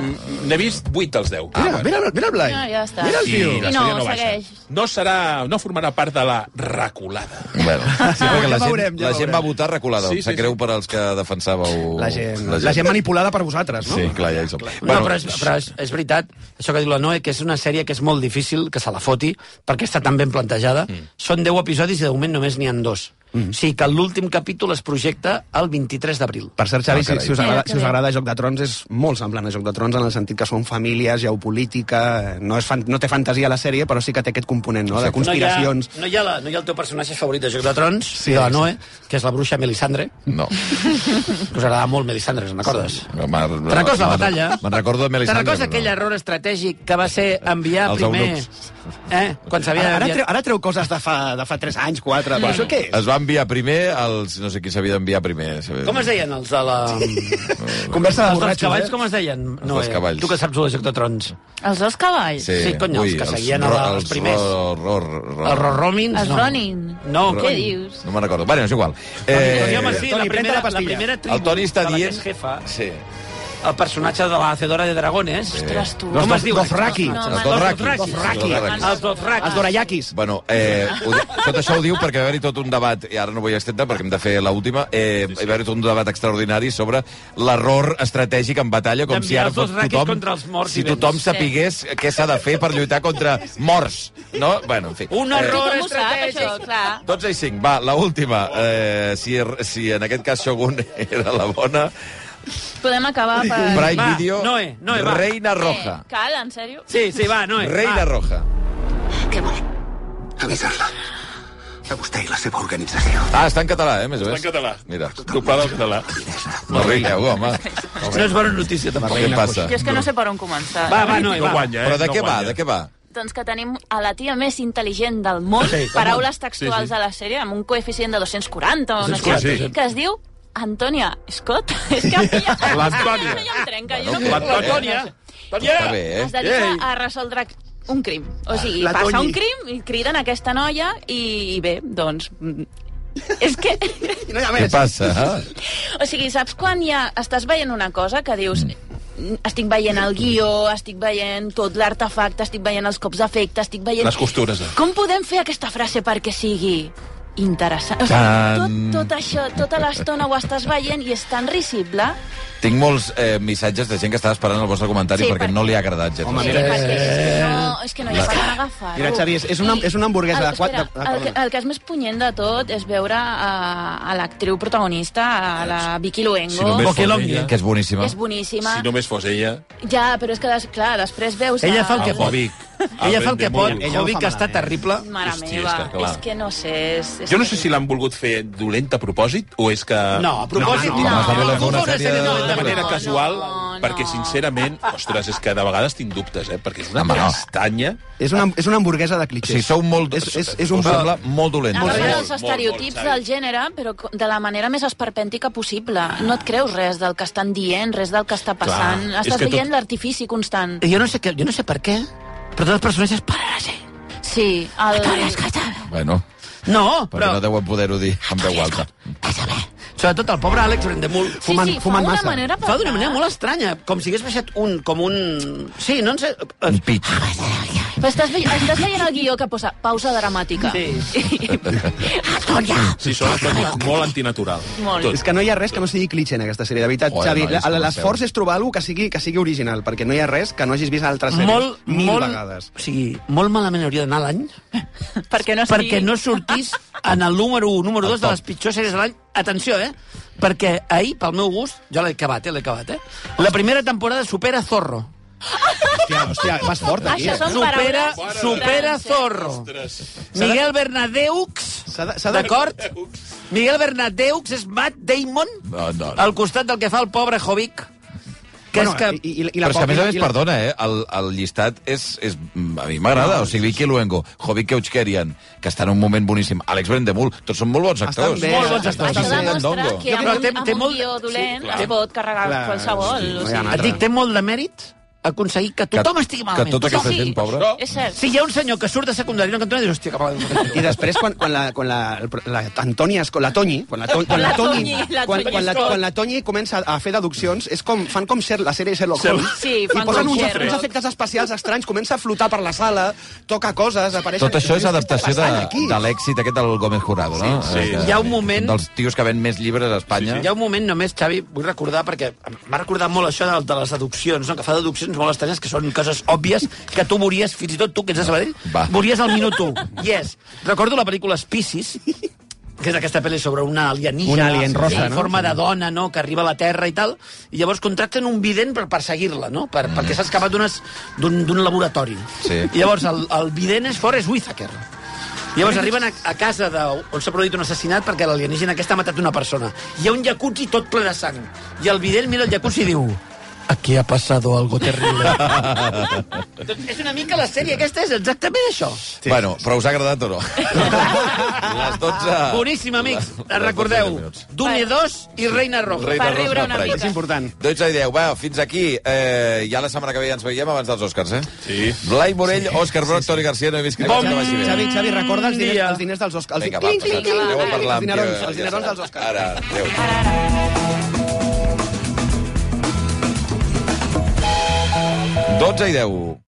S1: N'he vist 8 dels 10.
S6: Mira, mira, mira el Blai.
S4: No, ja està.
S6: Mira el
S1: I
S6: tio.
S1: la
S4: I no,
S1: sèrie no baixa.
S4: segueix.
S1: No, serà, no formarà part de la reculada.
S3: (laughs) Bueno, sí, perquè la, gent,
S6: Ja veurem, ja
S3: la gent
S6: veurem.
S3: va votar reculada.
S6: Sí,
S3: Sí,
S6: sí,
S3: sí, Sap greu per als que defensàveu...
S6: La gent, la gent manipulada per vosaltres, no?
S3: Sí, clar, ja hi som.
S5: Bueno, no, però, és, però és, és veritat, això que diu la Noe, que és una sèrie que és molt difícil que se la foti, perquè està tan ben plantejada. Mm. Són 10 episodis i de moment només n'hi han dos. Mm. O sigui que l'últim capítol es projecta el 23 d'abril.
S6: Per cert, Xavi,
S5: Ah,
S6: si,
S5: carai.
S6: si, us
S5: Mira,
S6: agrada,
S5: que
S6: si us
S5: bé.
S6: agrada Joc de Trons, és molt semblant a Joc de Trons en el sentit que són famílies, geopolítica... eh, No, és fan, no té fantasia la sèrie, però sí que té aquest component no? de conspiracions...
S5: No hi, ha, no, hi ha la, no hi ha el teu personatge favorit de Joc de Trons, sí, de la Noe, que és la bruixa Melisandre.
S3: No.
S5: Us agrada molt Melisandre, us n'acordes?
S3: Te'n
S5: recordes la batalla?
S3: Me'n recordo de
S5: Te'n
S3: Melisandre.
S5: recordes
S3: però
S5: aquell error estratègic que va ser enviar
S3: Els
S5: primer...
S3: eunucs.
S5: Eh? Quan s'havia
S6: Ara, ara,
S5: d'enviar-
S6: treu, ara treu coses de fa, de fa 3 anys, 4... Bueno. Això què és?
S3: Es va enviar primer als... No sé qui s'havia d'enviar primer. s'havia-
S5: Com es deien els de la...
S6: Conversa de
S5: els dels
S6: borratxos,
S5: cavalls,
S6: eh?
S5: com es deien?
S3: Els dels cavalls.
S5: Tu que saps el Joc de Trons.
S4: Els dos cavalls?
S3: Sí,
S5: Sí, cony, els que seguien a la- els primers.
S3: Els, ro, ro, ro,
S5: Els Rorromins,
S4: Els
S5: no.
S4: Ronin.
S5: No,
S4: Què
S5: cony.
S4: dius?
S3: No me'n recordo. Bueno, és igual.
S5: Eh,
S3: Eh,
S5: Toni, home, sí, la primera,
S6: Toni, pren-te la
S5: la,
S6: pastilla.
S5: primera tribu
S3: El Toni està
S5: de la que
S3: dient-
S5: és jefa,
S3: sí.
S5: el personatge de la Hacedora de Dragones.
S3: Ostres, tu.
S5: Com
S3: Los
S5: es diu?
S3: Dothraki.
S5: Els
S3: Els
S5: Dothraki.
S3: Dothraki.
S5: Dothraki. Els Dothraki.
S6: Els dorayakis.
S3: Bueno, eh, ho, di- tot això ho diu perquè va haver-hi tot un debat, i ara no vull estendre perquè hem de fer l'última, eh, hi va haver tot un debat extraordinari sobre l'error estratègic en batalla, com si
S5: D'enviar
S3: ara
S5: els
S3: fos
S5: dos raquis
S3: tothom...
S5: contra els morts
S3: si
S5: i
S3: tothom
S5: vents.
S3: sapigués què s'ha de fer per lluitar contra morts, no? Bueno, en fi.
S5: Un error
S4: Com ho sap,
S5: estratègic.
S4: això? Clar.
S3: 12 i 5, va, l'última. Eh, si, si en aquest cas Shogun (laughs) era la bona,
S4: Podem acabar per...
S3: Prime Video,
S4: Noe, Noe, va.
S3: Reina Roja.
S4: Eh, cal, en sèrio?
S5: Sí, sí, va, Noe.
S3: Reina Roja.
S11: Avisar-la. A vostè i la seva organització.
S3: Ah, està en català, eh, més o
S11: Està
S3: més.
S11: en català.
S3: Mira.
S1: Doblada al català.
S3: No rigueu, home.
S5: No és bona notícia, tampoc.
S3: Què passa?
S4: Jo és que no sé per on començar.
S1: eh?
S3: Però de què va, de què va?
S4: Doncs que tenim a la tia més intel·ligent del món,
S3: Sí,
S4: sí,
S3: del
S4: paraules
S3: món.
S4: textuals
S3: Sí, sí.
S4: de la sèrie, amb un coeficient de 240 o no sé,
S3: 240, sí.
S4: que es diu Antonia Scott. (laughs) és que a mi ja, a
S5: L'Antònia.
S4: mi (laughs) ja em trenca.
S5: Bueno,
S4: jo no puc-
S5: l'Antònia.
S3: Està bé, eh?
S4: Es dedica a resoldre un crim. O sigui,
S3: Ah, La
S4: passa
S3: Toni.
S4: un crim i criden aquesta noia i, i bé, doncs... mm, És que... (laughs)
S6: No hi
S3: Què passa? eh?
S4: O sigui, saps quan ja estàs veient una cosa que dius... "Mm, Estic veient el guió, estic veient tot l'artefacte, estic veient els cops d'efecte, estic veient...
S1: Les costures. eh?
S4: Com podem fer aquesta frase perquè sigui interessant? O
S3: Tan.
S4: sigui, tot, tot això, tota l'estona ho estàs veient i és tan risible.
S3: Tinc molts eh, missatges de gent que estava esperant el vostre comentari
S4: Sí,
S3: perquè
S4: perquè-
S3: no li ha agradat gens.
S6: Home,
S4: Sí,
S6: mira,
S4: perquè és que
S6: eh,
S4: no, és que no hi ha
S3: la-
S4: per on agafar-ho.
S6: Mira, Xavi, és, és, una, és una hamburguesa de... Quatre, ah,
S4: Espera,
S6: de,
S4: el, que, el que és més punyent de tot és veure a, a l'actriu protagonista, a la Vicky Luengo.
S1: Si només fos ella...
S3: Que és boníssima.
S4: És boníssima.
S1: Si només fos ella...
S4: Ja, però és que, des, clar, després veus...
S1: Ella
S4: a-
S1: fa el que pot. Vic.
S5: Ella fa el que pot,
S1: Aprendem molt.
S5: Hobbit, que està terrible.
S4: Mare
S1: Hòstia,
S4: meva,
S1: és que clar.
S4: és que no sé... És, és
S1: Jo no sé
S4: que-
S1: si l'han volgut fer dolenta a propòsit o és que...
S5: No, a propòsit No, no, no. no. Es va voler fer una sèrie
S1: de,
S5: de-
S1: de manera
S5: no,
S1: casual, perquè sincerament, ostres, és que de vegades tinc dubtes, eh? Perquè és una
S2: Home, no.
S1: castanya...
S6: És una, és una hamburguesa de clichés.
S2: Si sou molt...
S6: És, és, és un
S2: us sembla molt dolent.
S4: Agafant els estereotips del gènere, però co- de la manera més esperpèntica possible. No et creus res del que estan dient, res del que està passant.
S5: Clar, és
S4: Estàs
S5: que
S4: veient
S5: tot-
S4: l'artifici constant.
S5: Jo no sé, que, jo no sé per què, però tots els personatges paren a ser.
S4: Sí, el...
S2: Bueno,
S5: No,
S2: perquè
S5: però...
S2: no deuen poder-ho dir amb veu alta.
S5: Sobretot el pobre Àlex Brendemul.
S6: Fumant- sí, fa fumant una massa. manera
S5: Fa d'una manera molt estranya, com si hagués baixat un... Com un... Sí, no en sé... Un
S2: pit.
S4: Però estàs, ve... estàs veient el guió que posa pausa dramàtica. Sí. (laughs)
S1: Sí, són tot molt antinatural.
S4: Molt.
S1: Tot.
S6: És que no hi ha res que no sigui cliché en aquesta sèrie. De veritat,
S1: Joder,
S6: Xavi,
S1: nois,
S6: la-
S1: com
S6: l'esforç
S1: esteu.
S6: és trobar alguna que sigui, que sigui original, perquè no hi ha res que no hagis vist en altres sèries
S5: eh, Molt,
S6: mil
S5: molt,
S6: vegades.
S5: O sigui, molt malament hauria d'anar l'any
S4: perquè no,
S5: perquè no sortís en el número 1, número 2 de les pitjors sèries de l'any. Atenció, eh? Perquè ahir, pel meu gust, jo l'he acabat, eh? L'he acabat, eh? La primera temporada supera Zorro.
S6: Hòstia, hòstia, vas fort, aquí. eh?
S5: Això són Supera- paraules supera grans, eh? Zorro. Miguel Bernadeux,
S6: s'ha de-
S5: d'acord? Miguel Bernadeux és Matt Damon
S2: No, no,
S5: al costat del que fa el pobre Jovic. Que és que...
S6: I, i, i
S2: Però és que, a més a més,
S5: i la-
S2: perdona, eh? El, el llistat és... és a mi m'agrada, o sigui, Vicky Luengo, Jovic Keuchkerian, que està en un moment boníssim, Àlex Brendemul, tots són molt bons actors.
S6: bé, Molt bons
S4: Això demostra que amb,
S5: Però
S4: un,
S5: té-
S4: amb
S5: té
S4: un
S5: molt-
S4: guió dolent
S2: clar.
S4: es pot carregar
S6: Clar,
S4: qualsevol.
S6: sí,
S4: o
S6: no hi ha
S4: sigui.
S5: Et dic, té molt de mèrit aconseguir que tothom
S2: Que-
S5: estigui malament.
S2: que tota aquesta
S5: Tothom.
S2: gent pobra.
S4: És cert.
S5: Si hi ha un senyor que surt de secundària i no cantona, dius, hòstia, que malament.
S6: I després, quan, quan, la, quan la, la, Antònia, es- la Toni, quan la, to, quan la
S4: La
S6: Toni,
S4: Toni, la
S6: quan,
S4: Toni
S6: quan, la,
S4: Scott.
S6: quan la Toni comença a fer deduccions, és com, fan com ser, la sèrie Sherlock
S1: Sherlock.
S6: Holmes,
S4: Sí,
S6: i
S4: fan
S6: posen
S4: com
S6: uns,
S4: Sherlock.
S6: uns efectes especials estranys, comença a flotar per la sala, toca coses, apareixen...
S2: Tot això és
S6: dius, "Què està
S2: adaptació de,
S6: passant aquí?"
S2: de l'èxit aquest del Gómez Jurado, no?
S1: Sí, sí.
S2: Eh,
S5: Hi ha un moment-
S2: Dels tios que ven més llibres a Espanya.
S5: Hi ha un moment només, Xavi, vull recordar, perquè m'ha recordat molt això de, de les deduccions, no? que fa deduccions molt estranyes, que són coses òbvies, que tu veuries, fins i tot tu, que ets de Sabadell,
S2: Va.
S5: veuries al minut 1. Yes. Recordo la pel·lícula Species, que és aquesta pel·li sobre una alienígena
S6: Una alien rosa,
S5: en
S6: no?
S5: forma de dona, no?, que arriba a la Terra i tal, i llavors contracten un vident per perseguir-la, no?, per, perquè s'ha escapat d'unes- d'un d'un laboratori.
S2: Mm. Sí.
S5: I llavors el, el vident és Forrest Whitaker. Llavors arriben a, a casa de, on s'ha produït un assassinat perquè l'alienígena aquesta ha matat una persona. Hi ha un jacuzzi tot ple de sang. I el vident mira el jacuzzi i diu... Aquí ha pasado algo
S2: (laughs)
S5: terrible. doncs és una mica la sèrie aquesta, és exactament això.
S2: Sí. Bueno, però us ha agradat o
S5: (laughs)
S2: no? Les 12...
S5: Boníssim, amics.
S2: Les- les
S5: Recordeu,
S2: 12 Ah. minuts.
S5: Dune 2 i Reina Roja.
S2: Reina
S4: Per riure
S2: Rosa
S4: una
S2: Prey.
S4: mica.
S6: És important.
S2: 12 i 10. Va, fins aquí. Eh, ja la setmana que ve ja ens veiem abans dels Oscars, eh?
S1: Sí.
S2: Blai Morell, Òscar Broc, Toni Garcia, no he vist que bon. vagi bé.
S6: Xavi, Xavi, recorda els diners,
S5: Dia.
S6: els diners dels Oscars.
S2: Vinga, va, passat. Aneu a parlar
S6: els
S2: amb...
S6: dinerons, els dinerons dels Oscars.
S2: Ara, adéu. Dotze i deu.